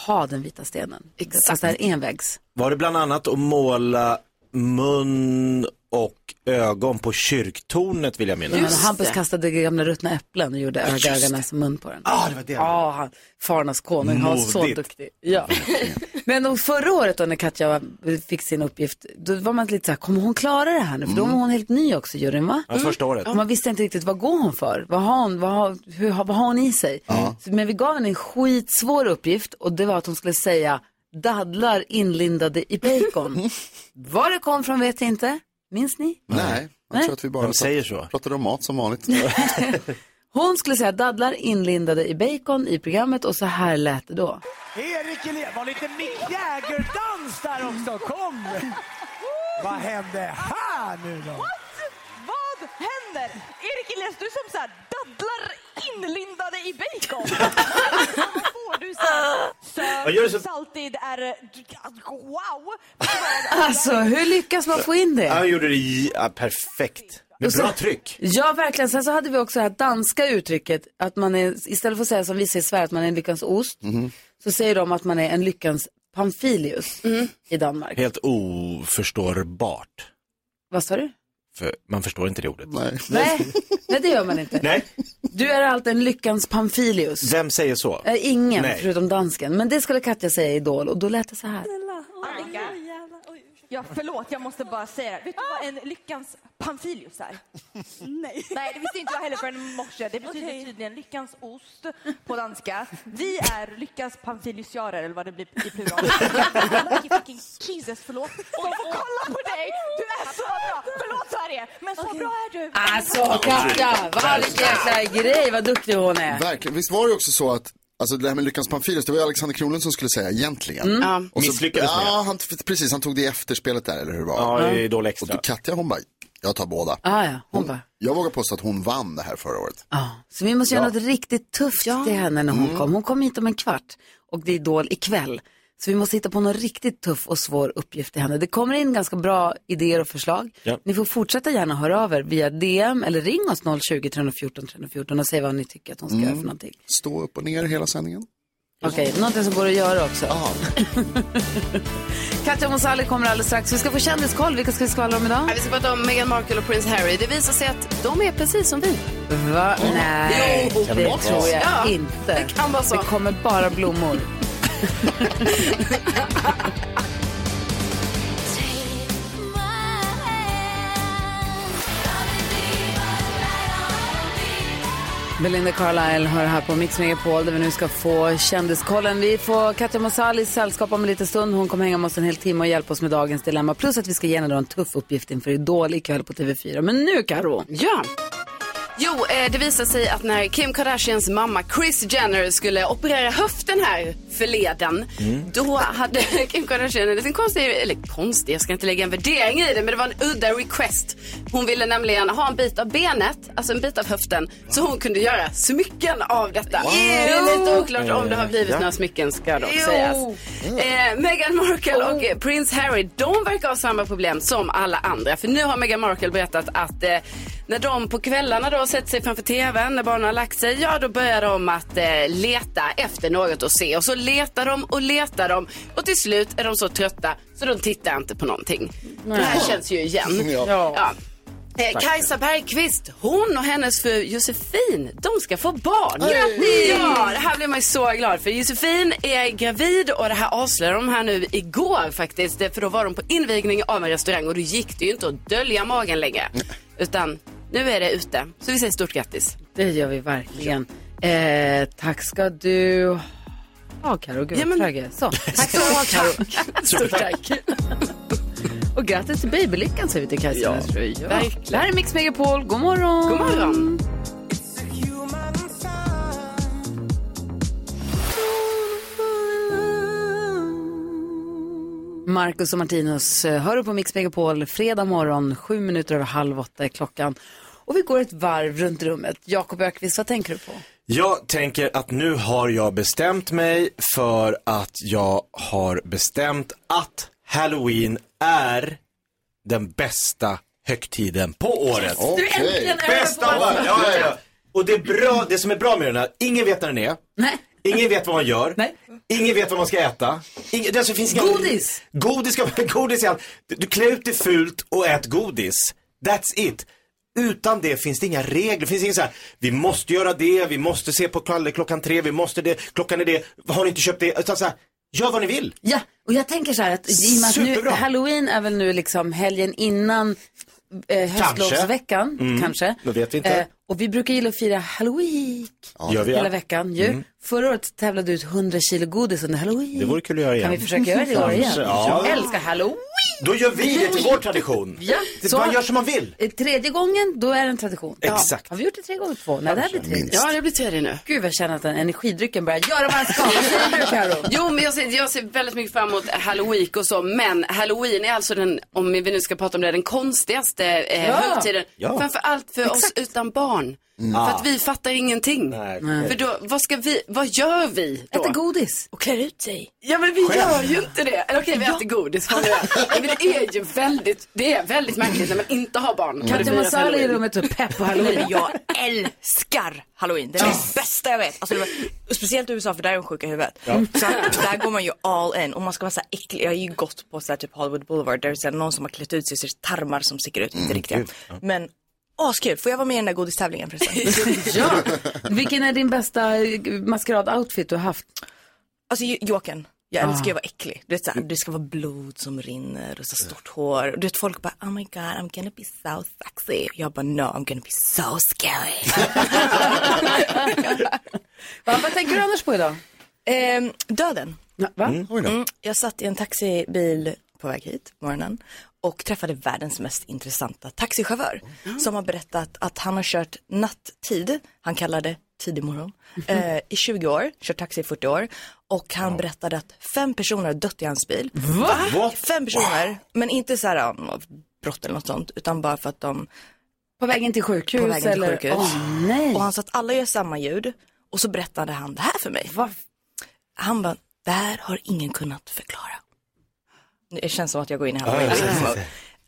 [SPEAKER 1] ha den vita stenen. Exakt. Fast det här är envägs.
[SPEAKER 3] Var det bland annat att måla mun och ögon på kyrktornet vill jag minnas?
[SPEAKER 1] Men Hampus kastade gamla ruttna äpplen och gjorde öga, ögonen som mun på den. Ja,
[SPEAKER 3] Ah, det var det.
[SPEAKER 1] han, farnas konung, han var så
[SPEAKER 3] Modigt.
[SPEAKER 1] duktig. Ja. Men och förra året då när Katja fick sin uppgift, då var man lite så här, kommer hon klara det här nu? För då var hon helt ny också, juryn va?
[SPEAKER 3] Mm.
[SPEAKER 1] Mm.
[SPEAKER 3] Ja, första året.
[SPEAKER 1] Och man visste inte riktigt vad går hon för? Vad har hon, vad har, hur, har- vad har hon i sig? Så, men vi gav henne en skitsvår uppgift och det var att hon skulle säga dadlar inlindade i bacon. var det kom från vet jag inte. Minns ni?
[SPEAKER 7] Nej. Jag tror att vi bara
[SPEAKER 3] De säger så.
[SPEAKER 7] pratade om mat som vanligt.
[SPEAKER 1] Hon skulle säga dadlar inlindade i bacon i programmet och så här lät det då.
[SPEAKER 9] Erik Helén, var lite Mick Jagger-dans där också, kom! Vad hände här nu då?
[SPEAKER 8] Vad händer? Erik Elias, du som så här daddlar inlindade i bacon. Vad får du så här
[SPEAKER 3] Vad gör du
[SPEAKER 8] sött,
[SPEAKER 3] så-
[SPEAKER 8] saltid, är... Wow!
[SPEAKER 1] Alltså, hur lyckas man få in det?
[SPEAKER 3] Han gjorde det i- ja, perfekt. Med bra tryck.
[SPEAKER 1] Ja, verkligen. Sen så hade vi också det här danska uttrycket att man är, istället för att säga som vi säger i Sverige, att man är en lyckans ost, så säger de att man är en lyckans pamfilius i Danmark.
[SPEAKER 3] Helt oförstårbart.
[SPEAKER 1] Vad sa du?
[SPEAKER 3] För man förstår inte det ordet.
[SPEAKER 7] Nej.
[SPEAKER 1] Nej, nej det gör man inte.
[SPEAKER 3] Nej,
[SPEAKER 1] Du är alltid en lyckans pamfilius.
[SPEAKER 3] vem säger så?
[SPEAKER 1] Eh, Ingen,
[SPEAKER 3] Nej.
[SPEAKER 1] förutom dansken. Men det skulle Katja säga i Idol och då lät det så här.
[SPEAKER 8] Ja, förlåt, jag måste bara säga det. Vet du vad en lyckans Pamfilius är? Ah! Nej. Nej, det visste inte jag heller förrän i morse. Det betyder tydligen lyckans ost på danska. Vi är lyckans Pamfiliusiarer, eller vad det blir i plural. Lucky fucking Jesus, förlåt. Jag får kolla på dig! Du är så bra! Förlåt Sverige, men så bra är du!
[SPEAKER 1] Alltså Katja, vilken jäkla grej, vad duktig hon är.
[SPEAKER 7] Verkligen. Visst var det också så att Alltså det här med Lyckans Pamfilus, det var ju Alexander Kronlund som skulle säga egentligen. Mm.
[SPEAKER 3] Misslyckades med.
[SPEAKER 7] ja, han, precis, han tog det i efterspelet där, eller hur var det?
[SPEAKER 3] Ja, i Idol
[SPEAKER 7] Och
[SPEAKER 3] Extra.
[SPEAKER 7] då Katja hon bara, jag tar båda.
[SPEAKER 1] Ah, ja, hon bara. Ah,
[SPEAKER 7] Jag vågar påstå att hon vann det här förra året.
[SPEAKER 1] Ja, så vi måste göra något riktigt tufft till henne när hon kom. Hon kom hit om en kvart och det är Idol ikväll. Så vi måste hitta på någon riktigt tuff och svår uppgift till henne. Det kommer in ganska bra idéer och förslag.
[SPEAKER 3] Ja.
[SPEAKER 1] Ni får fortsätta gärna höra av er via DM eller ring oss 020 314 314 och säg vad ni tycker att hon ska göra
[SPEAKER 7] Mm.
[SPEAKER 1] för någonting.
[SPEAKER 7] Stå upp och ner hela sändningen.
[SPEAKER 1] Okej, någonting som går att göra också.
[SPEAKER 7] Ja,
[SPEAKER 1] Katja Monsali kommer alldeles strax. Vi ska få kändiskoll. Vilka ska vi skvallra om idag?
[SPEAKER 4] Vi ska prata om Meghan Markle och prins Harry. Det visar sig att de är precis som vi.
[SPEAKER 1] Va? Nej,
[SPEAKER 4] Jo,
[SPEAKER 1] det tror jag
[SPEAKER 4] Ja,
[SPEAKER 1] inte.
[SPEAKER 4] det kan vara så.
[SPEAKER 1] Det kommer bara blommor. Belinda Carlisle hör här på Mix Megapol där vi nu ska få kändiskollen. Vi får Katja Mosalis sällskap om en liten stund. Hon kommer hänga med oss en hel timme och hjälpa oss med dagens dilemma. Plus att vi ska ge henne då en tuff uppgift inför Idol ikväll på TV4. Men nu Karo.
[SPEAKER 4] Ja. Jo, eh, det visade sig att när Kim Kardashians mamma Kris Jenner skulle operera höften här förleden, då hade Kim Kardashian en liten konstig, eller konstig, jag ska inte lägga en värdering i det, men det var en udda request. Hon ville nämligen ha en bit av benet, alltså en bit av höften, så hon kunde göra smycken av detta. Det är lite oklart om det har blivit några smycken ska dock sägas. Eh, Meghan Markle och eh, prins Harry, de verkar ha samma problem som alla andra. För nu har Meghan Markle berättat att eh, när de på kvällarna då sätter sig framför tvn, när barnen har lagt sig, ja då börjar de att eh, leta efter något att se. Och så letar de och letar de och till slut är de så trötta så de tittar inte på någonting. Det här känns ju igen.
[SPEAKER 7] Ja.
[SPEAKER 4] Ja. Eh, Kajsa Bergqvist, hon och hennes fru Josefin, de ska få barn. Grattis! Ja, det här blev man ju så glad för. Josefin är gravid och det här avslöjade de här nu igår faktiskt. För då var de på invigning av en restaurang och då gick det ju inte att dölja magen längre. Utan nu är det ute. Så vi säger stort grattis.
[SPEAKER 1] Det gör vi verkligen. Eh, tack ska du ha, Karo. Gud,
[SPEAKER 4] Ja,
[SPEAKER 1] vad
[SPEAKER 4] men-
[SPEAKER 1] trög jag är. Så, tack ska du ha, Karo. Stort tack. Och grattis till babylyckan säger vi till Kajsa. Ja, Det här är Mix Megapol. God morgon.
[SPEAKER 4] God morgon!
[SPEAKER 1] Marcus och Martinus eh, hör du på Mix Megapol fredag morgon, sju minuter över halv åtta är klockan. Och vi går ett varv runt rummet. Jakob Ökvist, vad tänker du på?
[SPEAKER 3] Jag tänker att nu har jag bestämt mig för att jag har bestämt att halloween är den bästa högtiden på året.
[SPEAKER 7] okej.
[SPEAKER 3] Bästa av alla. Ja, ja, ja. Och det, är bra, det som är bra med den här, ingen vet när den är.
[SPEAKER 1] Nej.
[SPEAKER 3] Ingen vet vad man gör.
[SPEAKER 1] Nej.
[SPEAKER 3] Ingen vet vad man ska äta. Ingen, det alltså finns inga,
[SPEAKER 1] Godis.
[SPEAKER 3] Godis, ska, godis i allt. Du, du klär ut dig fult och ät godis. That's it. Utan det finns det inga regler. Det finns inget så här, vi måste göra det, vi måste se på kväll, klockan tre, vi måste det, klockan är det, har ni inte köpt det? Utan så här, gör vad ni vill.
[SPEAKER 1] Ja, och jag tänker så här att i och med att nu,
[SPEAKER 3] Superbra.
[SPEAKER 1] halloween är väl nu liksom helgen innan eh, höstlovsveckan, kanske.
[SPEAKER 4] Mm.
[SPEAKER 1] Eh,
[SPEAKER 3] det Mm. vet vi inte.
[SPEAKER 1] och vi brukar gilla att fira halloween
[SPEAKER 3] gör vi
[SPEAKER 1] hela
[SPEAKER 3] ja.
[SPEAKER 1] veckan ju. Förra året tävlade du ut 100 kilo godis under halloween.
[SPEAKER 3] Det vore kul att göra
[SPEAKER 1] Mm. Kan vi
[SPEAKER 3] igen.
[SPEAKER 1] försöka göra det i år igen?
[SPEAKER 3] Kanske, ja.
[SPEAKER 1] Jag älskar halloween!
[SPEAKER 3] Då gör vi det till vår tradition.
[SPEAKER 1] Ja,
[SPEAKER 3] Det-
[SPEAKER 1] så-
[SPEAKER 3] Man gör som man vill.
[SPEAKER 1] Eh, Tredje gången, då är det en tradition.
[SPEAKER 3] Exakt.
[SPEAKER 1] Har vi gjort det tre gånger? Två? Nej, det här blir tredje.
[SPEAKER 4] Ja, det blir tredje nu.
[SPEAKER 1] Gud, vad jag känner att den energidrycken börjar göra vad den ska. Vad säger du, Karo?
[SPEAKER 4] Jo, men jag ser, jag ser väldigt mycket fram emot halloween och så, men halloween är alltså den, om vi nu ska prata om det, den konstigaste eh,
[SPEAKER 1] Ja.
[SPEAKER 4] högtiden.
[SPEAKER 3] Ja.
[SPEAKER 4] Framför allt för oss utan barn. För att vi fattar ingenting.
[SPEAKER 3] Nej.
[SPEAKER 4] För då, vad ska vi, vad gör vi då?
[SPEAKER 1] Äta godis.
[SPEAKER 10] Och klär ut sig.
[SPEAKER 4] Ja men vi gör ju inte det. Eller okej vi äter godis. har vi det. Men det är ju väldigt, det är väldigt märkligt när man inte har barn. Kan
[SPEAKER 1] Katja Masala i rummet och pepp på
[SPEAKER 10] Nej,
[SPEAKER 1] halloween.
[SPEAKER 10] men jag älskar halloween. Det är det bästa jag vet. Alltså, det var, och speciellt i USA för där är de sjuka i huvudet. Så att där går man ju all in och man ska vara så här äcklig. Jag har ju gått på så här, typ Hollywood Boulevard där det är så här någon som har klätt ut sig så är det tarmar som sticker ut.
[SPEAKER 1] Mm,
[SPEAKER 10] Inte riktiga. Men askul. Får jag vara med i den där godistävlingen förresten?
[SPEAKER 1] Ja. Vilken är din bästa eh, maskeradoutfit du har haft?
[SPEAKER 10] Alltså j- jokern. Jag
[SPEAKER 1] Ah.
[SPEAKER 10] älskar ju att vara äcklig. Du vet såhär, det ska vara blod som rinner och så stort hår. Du vet folk bara, oh my god, I'm gonna be so sexy. Jag bara, no, I'm gonna be so scary.
[SPEAKER 1] Va, vad tänker du annars på idag?
[SPEAKER 10] Ehm, döden.
[SPEAKER 1] Va?
[SPEAKER 10] Mm, jag satt i en taxibil på väg hit på morgonen och träffade världens mest intressanta taxichaufför som har berättat att han har kört natttid, han kallar det tidig morgon, eh, i 20 år, kört taxi i 40 år och han berättade att fem personer har dött i hans bil.
[SPEAKER 3] Va?
[SPEAKER 10] Fem personer, men inte så här ja, brott eller något sånt, utan bara för att de,
[SPEAKER 1] På vägen till sjukhus?
[SPEAKER 10] På vägen till
[SPEAKER 1] eller?
[SPEAKER 10] sjukhus.
[SPEAKER 1] Åh, nej.
[SPEAKER 10] och han sa att alla gör samma ljud och så berättade han det här för mig.
[SPEAKER 1] Vad
[SPEAKER 10] Han bara, det här har ingen kunnat förklara. Det känns som att jag går in i halloween.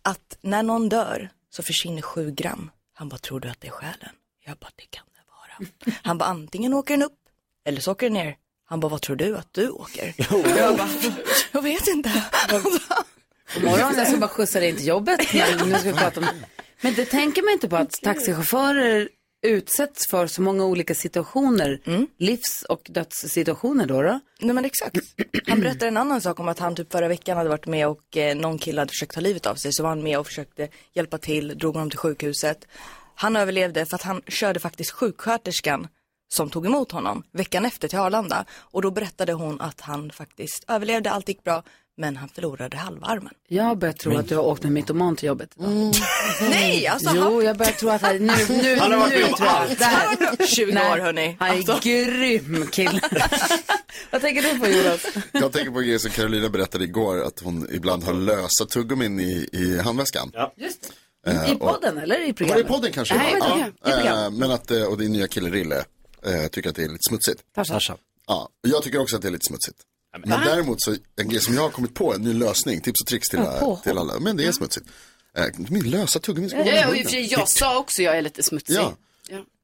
[SPEAKER 10] Att när någon dör så försvinner sju gram. Han bara, tror du att det är själen? Jag bara, det kan det vara. Han bara, antingen åker den upp eller så åker den ner. Han bara, vad tror du att du åker? Jag bara, jag vet inte.
[SPEAKER 1] Imorgon jag ska bara skjutsa dig in till jobbet. Men, nu ska vi prata om... men det tänker man inte på att taxichaufförer utsätts för så många olika situationer. Livs och dödssituationer då. då.
[SPEAKER 10] Mm. Nej men exakt. Han berättade en annan sak om att han typ förra veckan hade varit med och eh, någon kille hade försökt ta livet av sig. Så var han med och försökte hjälpa till, drog honom till sjukhuset. Han överlevde för att han körde faktiskt sjuksköterskan som tog emot honom veckan efter till Arlanda. Och då berättade hon att han faktiskt överlevde, allt gick bra. Men han förlorade halva armen.
[SPEAKER 1] Jag har börjat tro att du har åkt med mitoman till jobbet. idag.
[SPEAKER 10] Mm. Nej, alltså han...
[SPEAKER 1] Jo, jag börjar tro att han, nu, nu,
[SPEAKER 3] Han har varit
[SPEAKER 1] nu
[SPEAKER 3] med om
[SPEAKER 1] tror jag.
[SPEAKER 3] allt.
[SPEAKER 1] Det här-
[SPEAKER 10] 20
[SPEAKER 1] Nej,
[SPEAKER 10] år hörni. Alltså.
[SPEAKER 1] Han är grym kille. Vad tänker du på Jonas?
[SPEAKER 7] Jag tänker på en grej som Carolina berättade igår, att hon ibland har lösa tuggummin i, i handväskan.
[SPEAKER 1] Just I podden eller
[SPEAKER 7] Var
[SPEAKER 1] i
[SPEAKER 7] det Eh, i
[SPEAKER 1] programmet?
[SPEAKER 7] podden kanske?
[SPEAKER 1] Nej,
[SPEAKER 7] det var?
[SPEAKER 1] i programmet.
[SPEAKER 7] Ja, eh, men att, eh, och din nya kille Rille eh, tycker att det är lite smutsigt.
[SPEAKER 3] Tarzan.
[SPEAKER 7] Ja, jag tycker också att det är lite smutsigt. Men däremot så, en grej som jag har kommit på, en ny lösning, tips och tricks till, alla, till alla, men det är smutsigt. Eh, Min lösa tuggummin ska vara i
[SPEAKER 4] Ja, och i
[SPEAKER 7] munnen.
[SPEAKER 4] och för sig, jag sa också jag är lite smutsig.
[SPEAKER 7] Ja.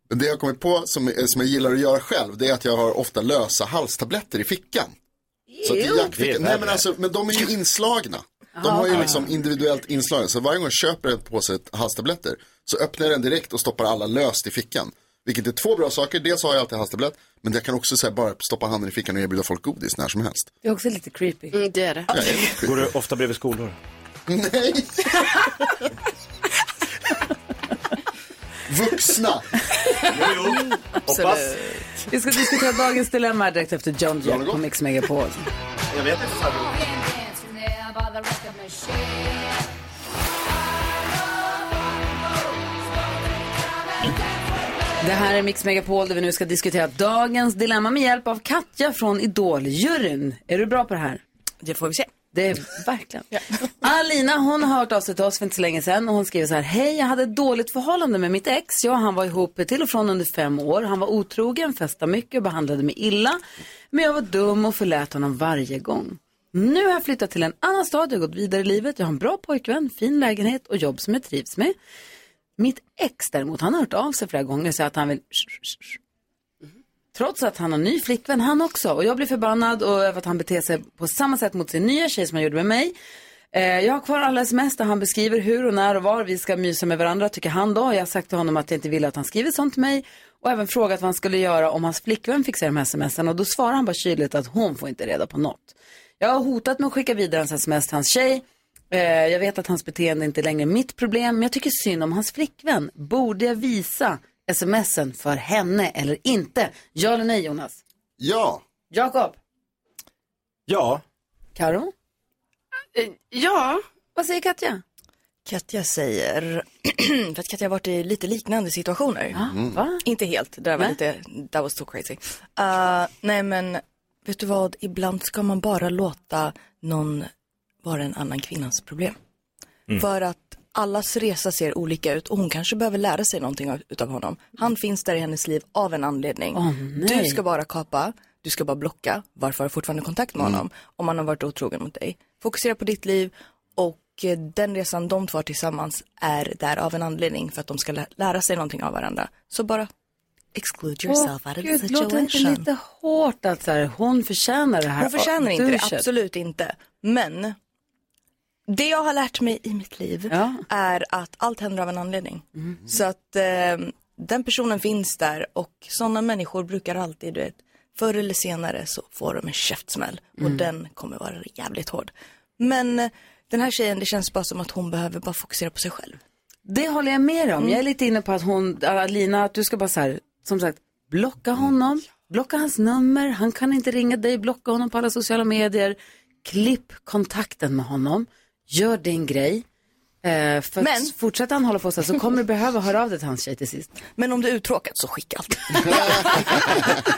[SPEAKER 7] Det jag har kommit på som, eh, som jag gillar att göra själv, det är att jag har ofta lösa halstabletter i fickan. Så att i jackfickan, nej men alltså, men de är ju inslagna. De har ju liksom individuellt inslagna, så varje gång jag köper en påse halstabletter så öppnar jag den direkt och stoppar alla löst i fickan. Vilket är två bra saker, dels har jag alltid halstablett, men jag kan också så här, bara stoppa handen i fickan och erbjuda folk godis när som helst.
[SPEAKER 1] Det är också lite creepy.
[SPEAKER 4] Mm, det är det.
[SPEAKER 3] Går du ofta bredvid skolor?
[SPEAKER 7] Nej! Eh, Vuxna!
[SPEAKER 3] Hoppas.
[SPEAKER 1] Vi ska diskutera dagens dilemma här direkt efter John Jett på Mix Megapol.
[SPEAKER 3] Jag vet inte.
[SPEAKER 1] Det här är Mix Megapol där vi nu ska diskutera dagens dilemma med hjälp av Katja från Idol-juryn. Är du bra på det här?
[SPEAKER 10] Det får vi se.
[SPEAKER 1] Det är verkligen. Alina hon har hört av sig till oss för inte så länge sedan och hon skriver så här. Hej, jag hade ett dåligt förhållande med mitt ex. Jag och han var ihop till och från under fem år. Han var otrogen, festade mycket och behandlade mig illa. Men jag var dum och förlät honom varje gång. Nu har jag flyttat till en annan stad, jag har gått vidare i livet. Jag har en bra pojkvän, fin lägenhet och jobb som jag trivs med. Mitt ex däremot, han har hört av sig flera gånger och säger att han vill Trots att han har ny flickvän han också. Och jag blir förbannad och över att han beter sig på samma sätt mot sin nya tjej som han gjorde med mig. Eh, jag har kvar alla sms där han beskriver hur och när och var vi ska mysa med varandra, tycker han då. Jag har sagt till honom att jag inte vill att han skriver sånt till mig. Och även frågat vad han skulle göra om hans flickvän fick se de här smsen. Och då svarar han bara kyligt att hon får inte reda på något. Jag har hotat med att skicka vidare hans sms till hans tjej. Eh, jag vet att hans beteende inte är längre är mitt problem, men jag tycker synd om hans flickvän. Borde jag visa smsen för henne eller inte? Ja eller nej, Jonas?
[SPEAKER 7] Ja,
[SPEAKER 1] Jakob?
[SPEAKER 3] Ja.
[SPEAKER 1] Karo?
[SPEAKER 4] Eh, Ja,
[SPEAKER 1] Vad säger Katja?
[SPEAKER 10] Katja säger, för att Katja har varit i lite liknande situationer.
[SPEAKER 1] Ah, Va?
[SPEAKER 10] Inte helt, det där var
[SPEAKER 1] Nej.
[SPEAKER 10] lite, that was too crazy. Eh, nej men, vet du vad, ibland ska man bara låta någon vara en annan kvinnans problem. För att allas resa ser olika ut och hon kanske behöver lära sig någonting av, utav honom. Han finns där i hennes liv av en anledning.
[SPEAKER 1] Åh, nej.
[SPEAKER 10] du ska bara kapa, du ska bara blocka. Varför har du fortfarande kontakt med honom? Om han har varit otrogen mot dig. Fokusera på ditt liv och eh, den resan de två har tillsammans är där av en anledning för att de ska lä- lära sig någonting av varandra. Så bara exclude yourself
[SPEAKER 1] Åh,
[SPEAKER 10] out of the
[SPEAKER 1] Gud, låter inte
[SPEAKER 10] situation.
[SPEAKER 1] lite hårt att så här, hon förtjänar det här?
[SPEAKER 10] Hon förtjänar inte det,
[SPEAKER 1] duschet?
[SPEAKER 10] absolut inte. Men det jag har lärt mig i mitt liv
[SPEAKER 1] Ja. Mm.
[SPEAKER 10] är att allt händer av en anledning. Så att eh, den personen finns där och sådana människor brukar alltid, du vet, förr eller senare så får de en käftsmäll
[SPEAKER 1] Mm.
[SPEAKER 10] och den kommer vara jävligt hård. Men eh, den här tjejen, det känns bara som att hon behöver bara fokusera på sig själv.
[SPEAKER 1] Det håller jag med om.
[SPEAKER 10] Mm.
[SPEAKER 1] Jag är lite inne på att hon, Alina, att du ska bara så här, som sagt, blocka
[SPEAKER 10] Mm.
[SPEAKER 1] honom, blocka hans nummer, han kan inte ringa dig, blocka honom på alla sociala medier, klipp kontakten med honom, gör din grej. Eh, för Men.
[SPEAKER 10] Men-
[SPEAKER 1] att fortsätter han hålla på så här så kommer du behöva höra av dig till hans tjej till sist.
[SPEAKER 10] Men om du är uttråkad så skicka allt.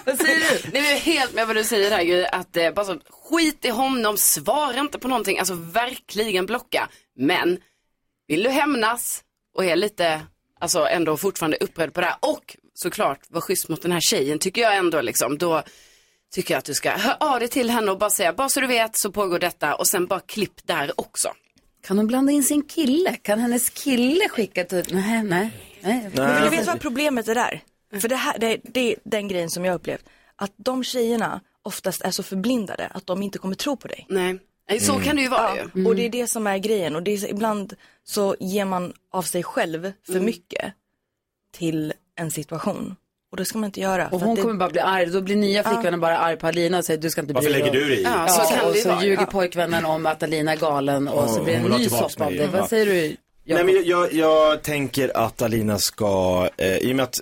[SPEAKER 1] Vad säger du?
[SPEAKER 4] Nej, men jag är helt med vad du säger här Gry, att eh, bara så, skit i honom, svara inte på någonting, alltså verkligen blocka. Men vill du hämnas och är lite, alltså ändå fortfarande upprörd på det här och såklart var schysst mot den här tjejen tycker jag ändå liksom, då tycker jag att du ska höra av dig till henne och bara säga, bara så du vet så pågår detta och sen bara klipp där också.
[SPEAKER 1] Kan hon blanda in sin kille? Kan hennes kille skicka till... Nej, nej. nej.
[SPEAKER 10] Men du vet
[SPEAKER 4] alltså,
[SPEAKER 10] vad problemet är där?
[SPEAKER 4] Mm.
[SPEAKER 10] För det, här, det, det är den grejen som jag har upplevt. Att de tjejerna oftast är så förblindade att de inte kommer tro på dig. Mm.
[SPEAKER 4] Nej, Nej, så kan det ju vara ju. Mm.
[SPEAKER 10] Och det är det som är grejen. Och det är, så- ibland så ger man av sig själv för
[SPEAKER 4] Mm.
[SPEAKER 10] mycket till en situation. Och det ska man inte göra.
[SPEAKER 1] Och
[SPEAKER 10] för att
[SPEAKER 1] hon
[SPEAKER 10] det,
[SPEAKER 1] kommer bara bli arg. Då blir nya flickvännen bara arg på Alina och säger du ska inte bli
[SPEAKER 3] Varför lägger du dig i?
[SPEAKER 4] Ja, så
[SPEAKER 1] Ja,
[SPEAKER 4] kan
[SPEAKER 1] och
[SPEAKER 4] det ju
[SPEAKER 1] så
[SPEAKER 4] vara.
[SPEAKER 1] ljuger pojkvännen om att Alina är galen och så
[SPEAKER 3] Åh,
[SPEAKER 1] blir det
[SPEAKER 3] hon vill
[SPEAKER 1] en
[SPEAKER 3] ha
[SPEAKER 1] ny
[SPEAKER 3] tillbaks
[SPEAKER 1] soppa av
[SPEAKER 3] mig.
[SPEAKER 1] det. Vad
[SPEAKER 3] Ja.
[SPEAKER 1] säger du?
[SPEAKER 3] Nej,
[SPEAKER 1] Jakob?
[SPEAKER 3] men jag, jag, jag tänker att Alina ska, eh, i och med att,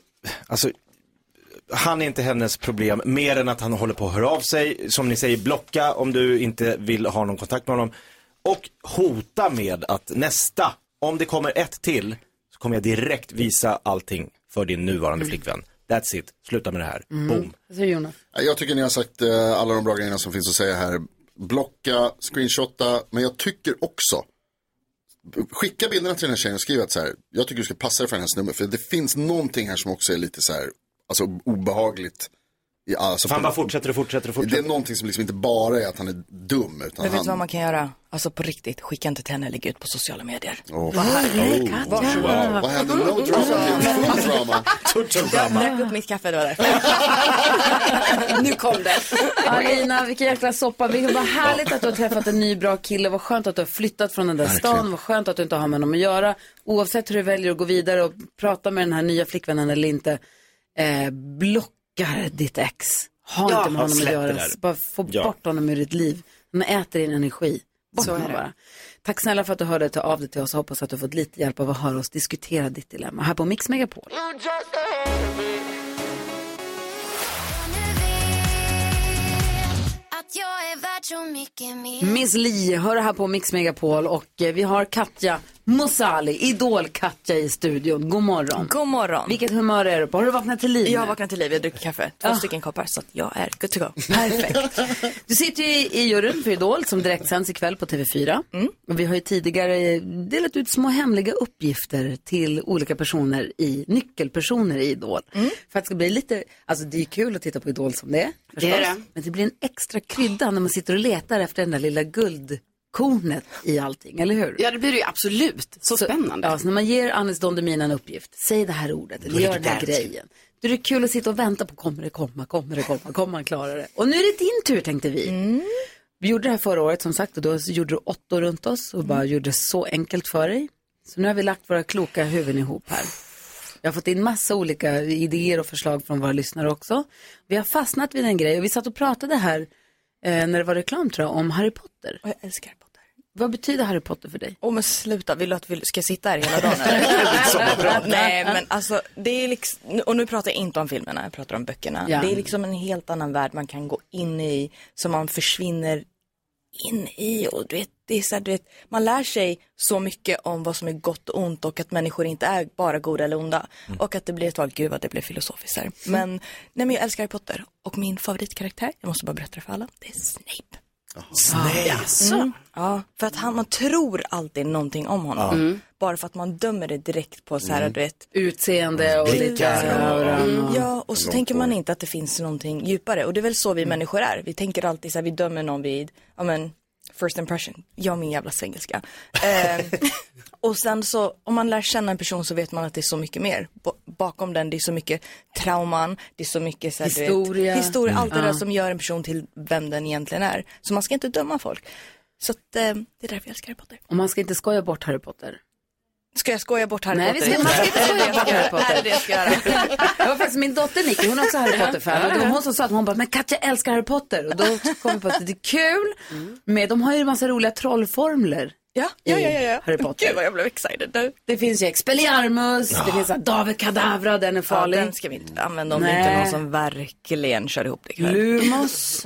[SPEAKER 3] alltså, han är inte hennes problem mer än att han håller på att höra av sig, som ni säger, blocka om du inte vill ha någon kontakt med honom. Och hota med att nästa, om det kommer ett till, så kommer jag direkt visa allting för din nuvarande flickvän. That's it, sluta med det här.
[SPEAKER 1] Mm.
[SPEAKER 3] Boom.
[SPEAKER 1] Vad säger Jonas?
[SPEAKER 7] Jag tycker ni har sagt eh, alla de bra grejerna som finns att säga här. Blocka, screenshotta, men jag tycker också Skicka bilderna till den här tjejen och skriv att så här, jag tycker du ska passa dig för hennes nummer. För det finns någonting här som också är lite så här, alltså obehagligt. I, alltså,
[SPEAKER 3] Fan bara fortsätter och fortsätter och
[SPEAKER 7] det är
[SPEAKER 3] fortsätter.
[SPEAKER 7] någonting som liksom inte bara är att han är dum. Utan
[SPEAKER 10] Men vet du vad
[SPEAKER 7] han...
[SPEAKER 10] man kan göra? Alltså på riktigt, skicka inte till henne, lägg ut på sociala medier.
[SPEAKER 7] Åh,
[SPEAKER 1] Nej, Katja.
[SPEAKER 7] wow. Vad hände? No drama, full drama.
[SPEAKER 3] Tuttelramma.
[SPEAKER 10] Drack upp mitt kaffe, det var därför.
[SPEAKER 4] Nu kom det.
[SPEAKER 1] Alina, vilken jäkla soppa. Vilken- Vad härligt att du har träffat en ny bra kille. Vad skönt att du har flyttat från den där stan. Vad skönt att du inte har med honom att göra. Oavsett hur du väljer att gå vidare och prata med den här nya flickvännen eller inte. Eh, blockar ditt ex. Ha
[SPEAKER 4] Ja,
[SPEAKER 1] inte med honom att
[SPEAKER 3] släpp det
[SPEAKER 1] göra.
[SPEAKER 3] där.
[SPEAKER 1] Bara få
[SPEAKER 3] Ja.
[SPEAKER 1] bort honom ur ditt liv. Han äter din energi. Bort med bara. Tack snälla för att du hörde ta av dig till oss. Hoppas att du har fått lite hjälp av att höra oss diskutera ditt dilemma här på Mix Megapol. Miss Li, hör här på Mix Megapol och eh, vi har Katja Mosali, Idol-Katja i studion. God morgon.
[SPEAKER 10] God morgon.
[SPEAKER 1] Vilket humör är du på? Har du vaknat till liv?
[SPEAKER 10] Jag har
[SPEAKER 1] nu? Ah.
[SPEAKER 10] vaknat till liv, jag dricker kaffe. Två stycken koppar, så att jag är good to go.
[SPEAKER 1] Perfekt. Du sitter ju i, i juryn för Idol som direktsänds ikväll på TV4.
[SPEAKER 10] Mm.
[SPEAKER 1] Och vi har ju tidigare delat ut små hemliga uppgifter till olika personer i, nyckelpersoner i Idol.
[SPEAKER 10] Mm.
[SPEAKER 1] För att det ska bli lite, alltså det är ju kul att titta på Idol som det är, förstås.
[SPEAKER 4] Det är det.
[SPEAKER 1] Men det blir en extra krydda när man sitter och letar efter den där lilla guldkornet i allting, eller hur?
[SPEAKER 4] Ja, det blir det ju absolut. Så, spännande.
[SPEAKER 1] Ja, så när man ger Anis Don Demina en uppgift, säg det här ordet, eller gör den här grejen. Då är det kul att sitta och vänta på, kommer det komma, kommer det komma, kommer han klara det? Och nu är det din tur tänkte vi.
[SPEAKER 4] Mm.
[SPEAKER 1] Vi gjorde det här förra året som sagt och då gjorde du åttor runt oss och
[SPEAKER 4] Mm.
[SPEAKER 1] bara gjorde det så enkelt för dig. Så nu har vi lagt våra kloka huvuden ihop här. Jag har fått in massa olika idéer och förslag från våra lyssnare också. Vi har fastnat vid en grej och vi satt och pratade här eh, när det var reklam tror jag om Harry Potter.
[SPEAKER 10] Och jag älskar potter.
[SPEAKER 1] Vad betyder Harry Potter för dig?
[SPEAKER 10] Åh men sluta, vill du att vi ska sitta här hela dagen eller? Nej men alltså, det är liksom, och nu pratar jag inte om filmerna, jag pratar om böckerna.
[SPEAKER 1] Ja.
[SPEAKER 10] Det är liksom en helt annan värld man kan gå in i, så man försvinner in i och du vet, det är så här, du vet, man lär sig så mycket om vad som är gott och ont och att människor inte är bara goda eller onda. Och att det blir ett val, gud vad det blev filosofiskt här. Men, nej, men jag älskar Harry Potter och min favoritkaraktär, jag måste bara berätta det för alla, det är Snape.
[SPEAKER 3] Snape?
[SPEAKER 10] Mm. Ja, för att han, man tror alltid någonting om honom.
[SPEAKER 1] Ja. Mm.
[SPEAKER 10] Bara för att man dömer det direkt på så här,
[SPEAKER 1] Mm.
[SPEAKER 10] du vet.
[SPEAKER 1] Utseende och lite auran
[SPEAKER 10] Mm,
[SPEAKER 1] och-
[SPEAKER 10] Ja, och så
[SPEAKER 1] Långt
[SPEAKER 10] tänker man inte att det finns någonting djupare. Och det är väl så
[SPEAKER 1] Mm.
[SPEAKER 10] vi människor är. Vi tänker alltid så här, vi dömer någon vid, ja men, first impression. Jag och min jävla svengelska. Eh, och sen så, om man lär känna en person så vet man att det är så mycket mer. Bo- bakom den, det är så mycket trauman, det är så mycket så här, du vet,
[SPEAKER 1] Historia.
[SPEAKER 10] historia,
[SPEAKER 1] Mm.
[SPEAKER 10] allt det där
[SPEAKER 1] Ja.
[SPEAKER 10] som gör en person till vem den egentligen är. Så man ska inte döma folk. Så att, eh, det är därför jag älskar Harry Potter.
[SPEAKER 1] Och man ska inte skoja bort Harry Potter.
[SPEAKER 10] Ska jag skoja bort Harry
[SPEAKER 1] Nej, vi
[SPEAKER 10] Potter?
[SPEAKER 1] ska, man ska inte
[SPEAKER 10] Är det
[SPEAKER 1] skoja
[SPEAKER 10] det jag
[SPEAKER 1] bort Harry
[SPEAKER 10] ska göra? Är det det jag ska göra?
[SPEAKER 1] Potter. Det var faktiskt min dotter Nicky, hon är också Harry Potter-fan. Och det var hon som sa att hon bara, men Katja älskar Harry Potter. Och då kom vi på att det är kul, men de har ju en massa roliga trollformler.
[SPEAKER 10] Ja, ja, ja, ja, ja.
[SPEAKER 1] Harry Potter.
[SPEAKER 10] Gud vad jag blev excited nu.
[SPEAKER 1] Det finns ju Expelliarmus, det finns David Kadavra, den är farlig.
[SPEAKER 10] Ja, den ska vi inte använda om det inte är någon som Mm. verkligen kör ihop det. kväll.
[SPEAKER 1] Lumos.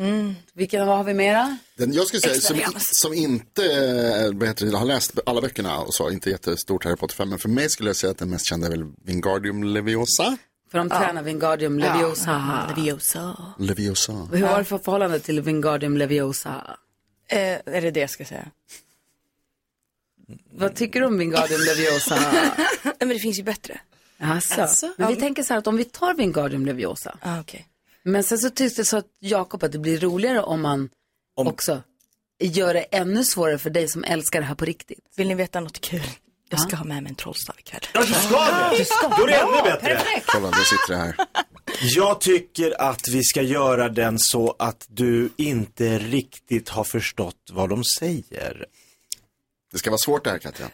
[SPEAKER 1] Vilken, vad har vi mera?
[SPEAKER 7] Den, jag skulle säga, som,
[SPEAKER 1] Experience.
[SPEAKER 7] som inte eh, vad heter det, har läst alla böckerna och så, inte jättestort Harry Potter 5, men för mig skulle jag säga att den mest kända är väl Wingardium Leviosa.
[SPEAKER 1] För de
[SPEAKER 7] Ja.
[SPEAKER 1] tränar Wingardium
[SPEAKER 7] Ja.
[SPEAKER 1] Leviosa.
[SPEAKER 10] Leviosa.
[SPEAKER 7] Leviosa.
[SPEAKER 1] Hur var det för förhållande till Wingardium Leviosa?
[SPEAKER 10] Eh, är det det jag ska säga?
[SPEAKER 1] Vad tycker du om Wingardium Leviosa?
[SPEAKER 10] Nej, men det finns ju bättre.
[SPEAKER 1] Alltså,
[SPEAKER 10] Alltså,
[SPEAKER 1] men vi
[SPEAKER 10] ja.
[SPEAKER 1] tänker så här att om vi tar Wingardium Leviosa.
[SPEAKER 10] Ah, okay.
[SPEAKER 1] Men sen så tyckte så att Jakob att det blir roligare om man också gör det ännu svårare för dig som älskar det här på riktigt.
[SPEAKER 10] Vill ni veta något kul? Jag ska ha med mig en trollstav ikväll.
[SPEAKER 3] Ja, du ska det!
[SPEAKER 1] Du ska.
[SPEAKER 3] Då är det ännu bättre.
[SPEAKER 7] Kolla, nu sitter det här.
[SPEAKER 3] Jag tycker att vi ska göra den så att du inte riktigt har förstått vad de säger.
[SPEAKER 7] Det ska vara svårt det här Katja.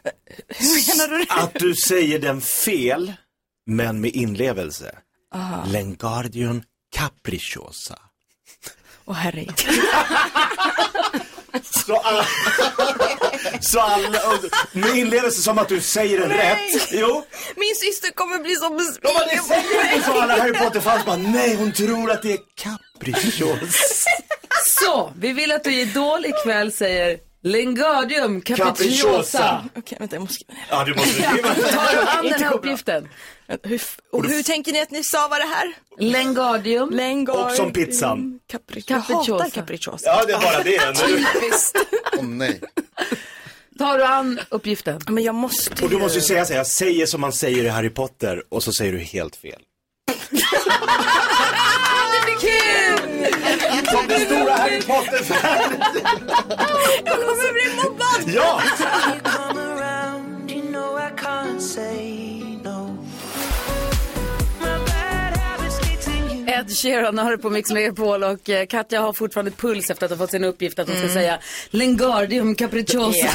[SPEAKER 10] Hur menar du det?
[SPEAKER 3] Att du säger den fel, men med inlevelse.
[SPEAKER 10] Ah.
[SPEAKER 3] Lengardion capricciosa.
[SPEAKER 10] Åh herregud.
[SPEAKER 3] Så alla... så alla... Med inlevelse som att du säger den rätt. Jo.
[SPEAKER 10] Min syster kommer bli så
[SPEAKER 3] De bara, det
[SPEAKER 10] besviken
[SPEAKER 3] säger inte så alla Harry Potter-fans bara, nej hon tror att det är capricciosa.
[SPEAKER 1] Så, vi vill att du i Idol ikväll säger Lingardium capricciosa.
[SPEAKER 10] Capricciosa. Okej, vänta jag måste skriva ner.
[SPEAKER 3] Ja, du måste
[SPEAKER 1] Tar du an den här uppgiften?
[SPEAKER 10] Hur, f- och hur tänker ni att ni stavar det här?
[SPEAKER 1] Lengardium.
[SPEAKER 10] Lengardium.
[SPEAKER 3] Och som pizzan.
[SPEAKER 10] Capric- Jag
[SPEAKER 1] Capricciosa.
[SPEAKER 10] hatar capricciosa.
[SPEAKER 3] Mm. Ja, det är bara det. Men-
[SPEAKER 10] Typiskt.
[SPEAKER 7] Åh nej.
[SPEAKER 1] Tar du an uppgiften?
[SPEAKER 10] Men jag måste
[SPEAKER 3] Och du måste ju säga så här, jag säger som man säger i Harry Potter och så säger du helt fel.
[SPEAKER 1] Kul!
[SPEAKER 3] Som den stora Harry Potter-fan!
[SPEAKER 10] Jag kommer bli mobbad!
[SPEAKER 3] Ja!
[SPEAKER 1] Ed Sheeran har det på Mix Megapol och eh, Katja har fortfarande puls efter att ha fått sin uppgift att hon
[SPEAKER 10] Mm.
[SPEAKER 1] ska säga Lengardium capricciosa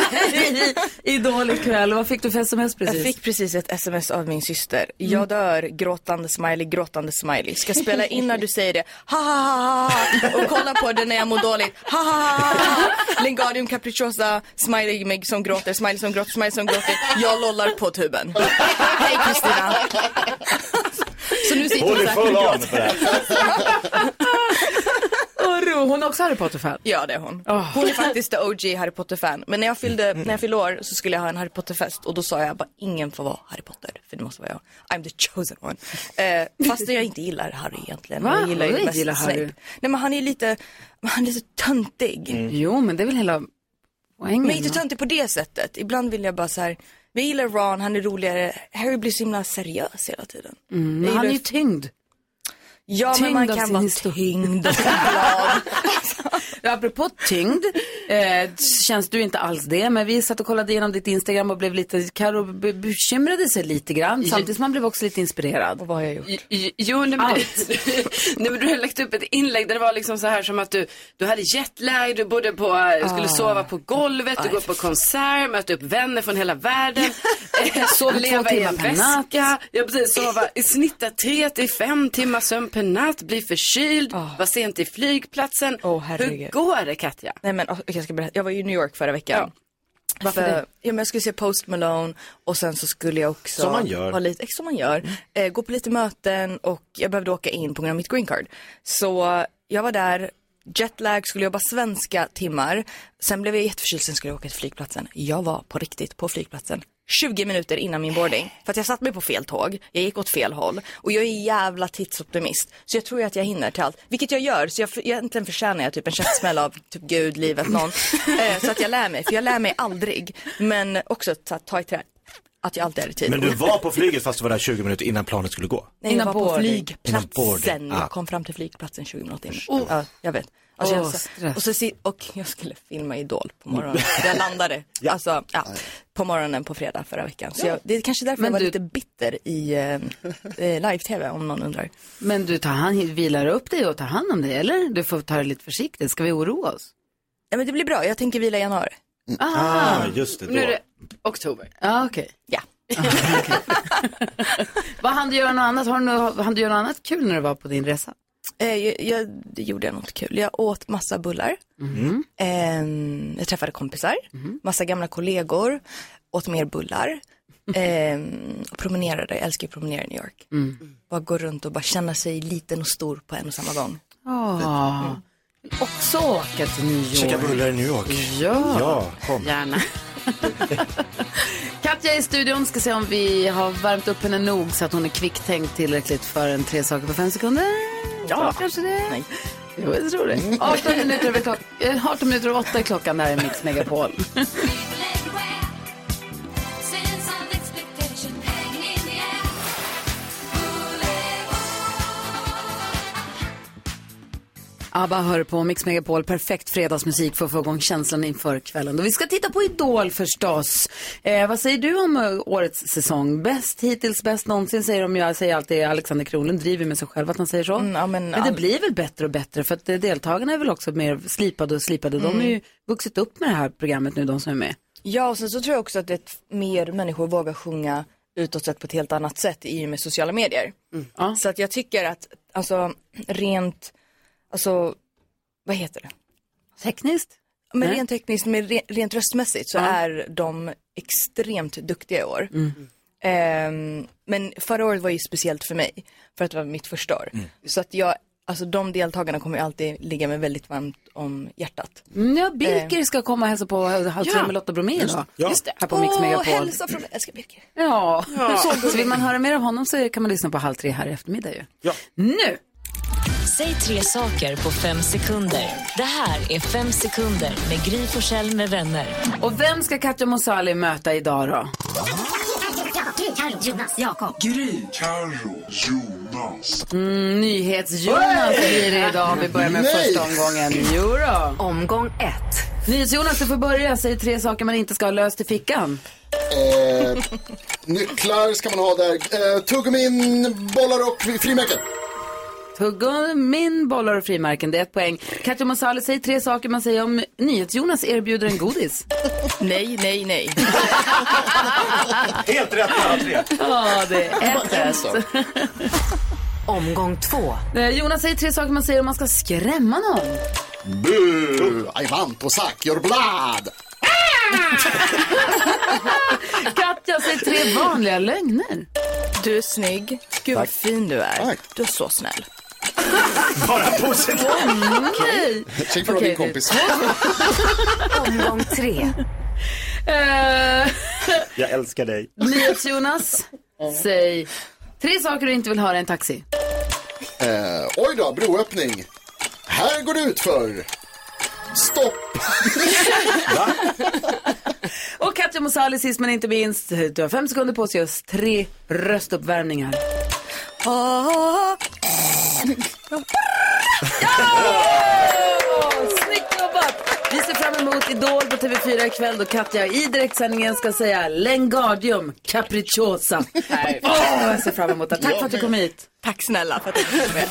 [SPEAKER 1] i Idol ikväll. Vad fick du för sms precis? Mm.
[SPEAKER 10] Jag fick precis ett sms av min syster. Jag dör, gråtande smiley, gråtande smiley. Ska spela in när du säger det. Ha ha ha ha ha. Och kolla på det när jag mår dåligt. Ha ha ha ha, ha. Lingardium capricciosa, smiley mig som gråter, smiley som gråter, smiley som gråter. Jag lollar på tuben. Hej Kristina. Så nu sitter
[SPEAKER 3] Hon
[SPEAKER 10] hon
[SPEAKER 3] är
[SPEAKER 10] säkert och
[SPEAKER 3] full on
[SPEAKER 10] gråter.
[SPEAKER 3] för det här.
[SPEAKER 1] Oro, hon är också Harry Potter-fan.
[SPEAKER 10] Ja det är hon.
[SPEAKER 1] Ah.
[SPEAKER 10] Hon är faktiskt the OG Harry Potter-fan. Men när jag, fyllde,
[SPEAKER 1] Mm.
[SPEAKER 10] när jag fyllde år så skulle jag ha en Harry Potter-fest och då sa jag bara ingen får vara Harry Potter för det måste vara jag. I'm the chosen one. Eh, fast jag inte gillar Harry egentligen.
[SPEAKER 1] Va?
[SPEAKER 10] Jag gillar ju
[SPEAKER 1] Jag
[SPEAKER 10] mest
[SPEAKER 1] gillar Harry.
[SPEAKER 10] Snape. Nej men han är lite, han är lite töntig.
[SPEAKER 1] Jo, men det är väl hela poängen.
[SPEAKER 10] Mm. Men inte
[SPEAKER 1] va?
[SPEAKER 10] töntig på det sättet. Ibland vill jag bara så här, jag gillar Ron, han är roligare. Harry blir så himla seriös hela tiden.
[SPEAKER 1] Mm,
[SPEAKER 10] Jag
[SPEAKER 1] men han är
[SPEAKER 10] gillar-
[SPEAKER 1] ju tyngd.
[SPEAKER 10] Ja men
[SPEAKER 1] tyngd
[SPEAKER 10] man
[SPEAKER 1] av
[SPEAKER 10] kan
[SPEAKER 1] sin
[SPEAKER 10] vara
[SPEAKER 1] historia.
[SPEAKER 10] tyngd och glad.
[SPEAKER 1] Apropå tyngd, eh, känns du inte alls det, men vi satt och kollade igenom ditt Instagram och blev lite, Karo be- bekymrade sig lite grann, samtidigt som man blev också lite inspirerad.
[SPEAKER 10] Vad har jag gjort?
[SPEAKER 11] Jo, Jo, nej, men, du, nej, men du hade lagt upp ett inlägg där det var liksom så här som att du, du hade jetlag, du bodde på, eh, skulle
[SPEAKER 10] Ah.
[SPEAKER 11] sova på golvet, du
[SPEAKER 10] Aj,
[SPEAKER 11] går på konsert, mötte upp vänner från hela världen, eh,
[SPEAKER 1] Sov två
[SPEAKER 11] leva i
[SPEAKER 1] timmar
[SPEAKER 11] en
[SPEAKER 1] per natt.
[SPEAKER 11] väska, ja, precis, sova, i snitta tre till fem timmar sömn per natt, bli förkyld, vara sent i flygplatsen.
[SPEAKER 10] Ah. Åh, herregud.
[SPEAKER 11] Hur går det Katja?
[SPEAKER 10] Nej men okej, jag ska berätta, jag var ju i New York förra veckan.
[SPEAKER 1] Varför
[SPEAKER 10] För,
[SPEAKER 1] det?
[SPEAKER 10] ja, men jag skulle se Post Malone och sen så skulle jag också
[SPEAKER 3] Som man gör. Mm.
[SPEAKER 10] Ha lite, eh, som man gör. Eh, gå på lite möten och jag behövde åka in på grund av mitt green card. Så jag var där, jetlag, skulle jobba svenska timmar. Sen blev jag jätteförkyld, sen skulle jag åka till flygplatsen. Jag var på riktigt på flygplatsen 20 minuter innan min boarding. För att jag satt mig på fel tåg, jag gick åt fel håll och jag är jävla tidsoptimist. Så jag tror ju att jag hinner till allt, vilket jag gör. Så jag, egentligen förtjänar jag typ en käftsmäll av typ Gud, livet, någon. Eh, så att jag lär mig, för jag lär mig aldrig. Men också så att ta i trä, att jag alltid är i tid.
[SPEAKER 3] Men du var på flyget fast du var där 20 minuter innan planet skulle gå?
[SPEAKER 10] Nej, jag var på
[SPEAKER 3] Innan boarding.
[SPEAKER 10] flygplatsen.
[SPEAKER 3] Ah.
[SPEAKER 10] Jag kom fram till flygplatsen 20 minuter innan. Ja, jag vet. Alltså,
[SPEAKER 1] Åh,
[SPEAKER 10] jag, så,
[SPEAKER 1] stress.
[SPEAKER 10] och, så, si- och jag skulle filma Idol på
[SPEAKER 3] Mm.
[SPEAKER 10] morgonen. Jag landade alltså, ja, på morgonen på fredag förra veckan. Så jag, det är kanske därför
[SPEAKER 1] Men
[SPEAKER 10] jag var
[SPEAKER 1] du-
[SPEAKER 10] lite bitter i eh, eh, live-tv om någon undrar.
[SPEAKER 1] Men du tar hand, vilar upp dig och tar hand om dig, eller? Du får ta det lite försiktigt. Ska vi oroa oss?
[SPEAKER 10] Ja, men det blir bra. Jag tänker vila i januari.
[SPEAKER 1] Ah,
[SPEAKER 3] Mm. just det.
[SPEAKER 11] Nu är det oktober.
[SPEAKER 1] Ja, okej.
[SPEAKER 10] Ja.
[SPEAKER 1] Vad hann du göra något annat? Har du, nå- hann du göra något annat kul när du var på din resa?
[SPEAKER 10] Eh, jag, jag det gjorde jag något kul. Jag åt massa bullar.
[SPEAKER 1] Mm.
[SPEAKER 10] Ehm, jag träffade kompisar,
[SPEAKER 1] Mm-hmm.
[SPEAKER 10] massa gamla kollegor, åt mer bullar. Ehm, och promenerade, jag älskar att promenera i New York.
[SPEAKER 1] Mm.
[SPEAKER 10] Bara gå runt och bara känna sig liten och stor på en och samma gång. Typ. Mm.
[SPEAKER 1] Ah. Vill Också åka till New York.
[SPEAKER 3] Käka bullar i New York.
[SPEAKER 1] Ja.
[SPEAKER 3] Ja, kom.
[SPEAKER 11] Gärna.
[SPEAKER 1] Katja i studion ska se om vi har värmt upp henne nog så att hon är kvicktänkt tillräckligt för en tre saker på fem sekunder. Ja, kanske det. Nej. Jo, jag tror det.
[SPEAKER 10] Mm.
[SPEAKER 1] 18 minuter över klock- eh, 18 minuter över 8 är klockan där i Mix Megapol. ABBA hör på Mix Megapol, perfekt fredagsmusik för att få igång känslan inför kvällen. Och vi ska titta på Idol förstås. Eh, vad säger du om eh, årets säsong? Bäst hittills, bäst någonsin säger de. Jag säger alltid Alexander Kronlund driver med sig själv att han säger så.
[SPEAKER 10] Mm, ja, men
[SPEAKER 1] men det
[SPEAKER 10] all-
[SPEAKER 1] blir väl bättre och bättre för att eh, deltagarna är väl också mer slipade och slipade.
[SPEAKER 10] Mm.
[SPEAKER 1] De har ju vuxit upp med det här programmet nu, de som är med.
[SPEAKER 10] Ja, och sen så tror jag också att det mer människor vågar sjunga utåt sett på ett helt annat sätt i och med sociala medier. Så att jag tycker att, alltså rent, alltså, vad heter det?
[SPEAKER 1] Tekniskt?
[SPEAKER 10] Men
[SPEAKER 1] Nej.
[SPEAKER 10] rent tekniskt, men re- rent röstmässigt så är de extremt duktiga i år. Ehm, men förra året var ju speciellt för mig, för att det var mitt första år. Så att jag, alltså de deltagarna kommer ju alltid ligga mig väldigt varmt om hjärtat.
[SPEAKER 1] Mm, Ja, Birker ska komma och hälsa på eh, Halv tre med Lotta Bromé idag.
[SPEAKER 10] Just det.
[SPEAKER 1] Här på Mix Megapol.
[SPEAKER 10] hälsa från mig, jag älskar Birker.
[SPEAKER 1] Ja, så vill man höra mer av honom så kan man lyssna på Halv tre här i eftermiddag ju. Nu!
[SPEAKER 2] Säg tre saker på fem sekunder. Det här är fem sekunder med Gry Forssell med vänner.
[SPEAKER 1] Och vem ska Katja Monsali möta idag då?
[SPEAKER 12] Gry, Carro, Jonas.
[SPEAKER 1] Mm, Nyhets-Jonas blir det idag. Vi börjar med
[SPEAKER 12] Nej.
[SPEAKER 1] första omgången. Jo då. Omgång ett. Nyhets-Jonas, du får börja. Säg tre saker man inte ska ha löst i fickan.
[SPEAKER 7] Eh, nycklar ska man ha där. Eh, tuggummin, bollar och frimärken.
[SPEAKER 1] Tuggummin, bollar och frimärken. Det är ett poäng. Katja Monsali, säg tre saker man säger om Nyhets-Jonas erbjuder en godis.
[SPEAKER 10] Nej, nej, nej.
[SPEAKER 3] Helt rätt på alla tre.
[SPEAKER 1] Ja, det är ett rätt.
[SPEAKER 2] Omgång två.
[SPEAKER 1] Eh, Jonas, säg tre saker man säger om man ska skrämma någon.
[SPEAKER 7] Bu, I want to suck your blood.
[SPEAKER 1] Katja, säg tre vanliga lögner.
[SPEAKER 10] Du är snygg, gud vad fin du är.
[SPEAKER 7] Tack.
[SPEAKER 10] Du är så snäll.
[SPEAKER 3] Bara positivt.
[SPEAKER 1] Nej!
[SPEAKER 7] Tänk för att vara
[SPEAKER 1] Okej,
[SPEAKER 7] din
[SPEAKER 1] Mm-hmm.
[SPEAKER 7] kompis.
[SPEAKER 2] Omgång tre.
[SPEAKER 1] Eh,
[SPEAKER 3] Jag älskar dig.
[SPEAKER 1] NyhetsJonas, säg tre saker du inte vill höra i en taxi.
[SPEAKER 7] Eh, oj då, broöppning. Här går det ut för. Stopp.
[SPEAKER 1] Och Katja Mosali, sist men inte minst, du har fem sekunder på dig just tre röstuppvärmningar.
[SPEAKER 10] Ah,
[SPEAKER 1] Åh, Snyggt jobbat! Vi ser fram emot Idol på TV4 ikväll då Katja i direktsändningen ska säga Lengardium capricciosa. Åh, jag ser fram emot det. Tack för att du kom hit.
[SPEAKER 10] tack snälla för att du kom med.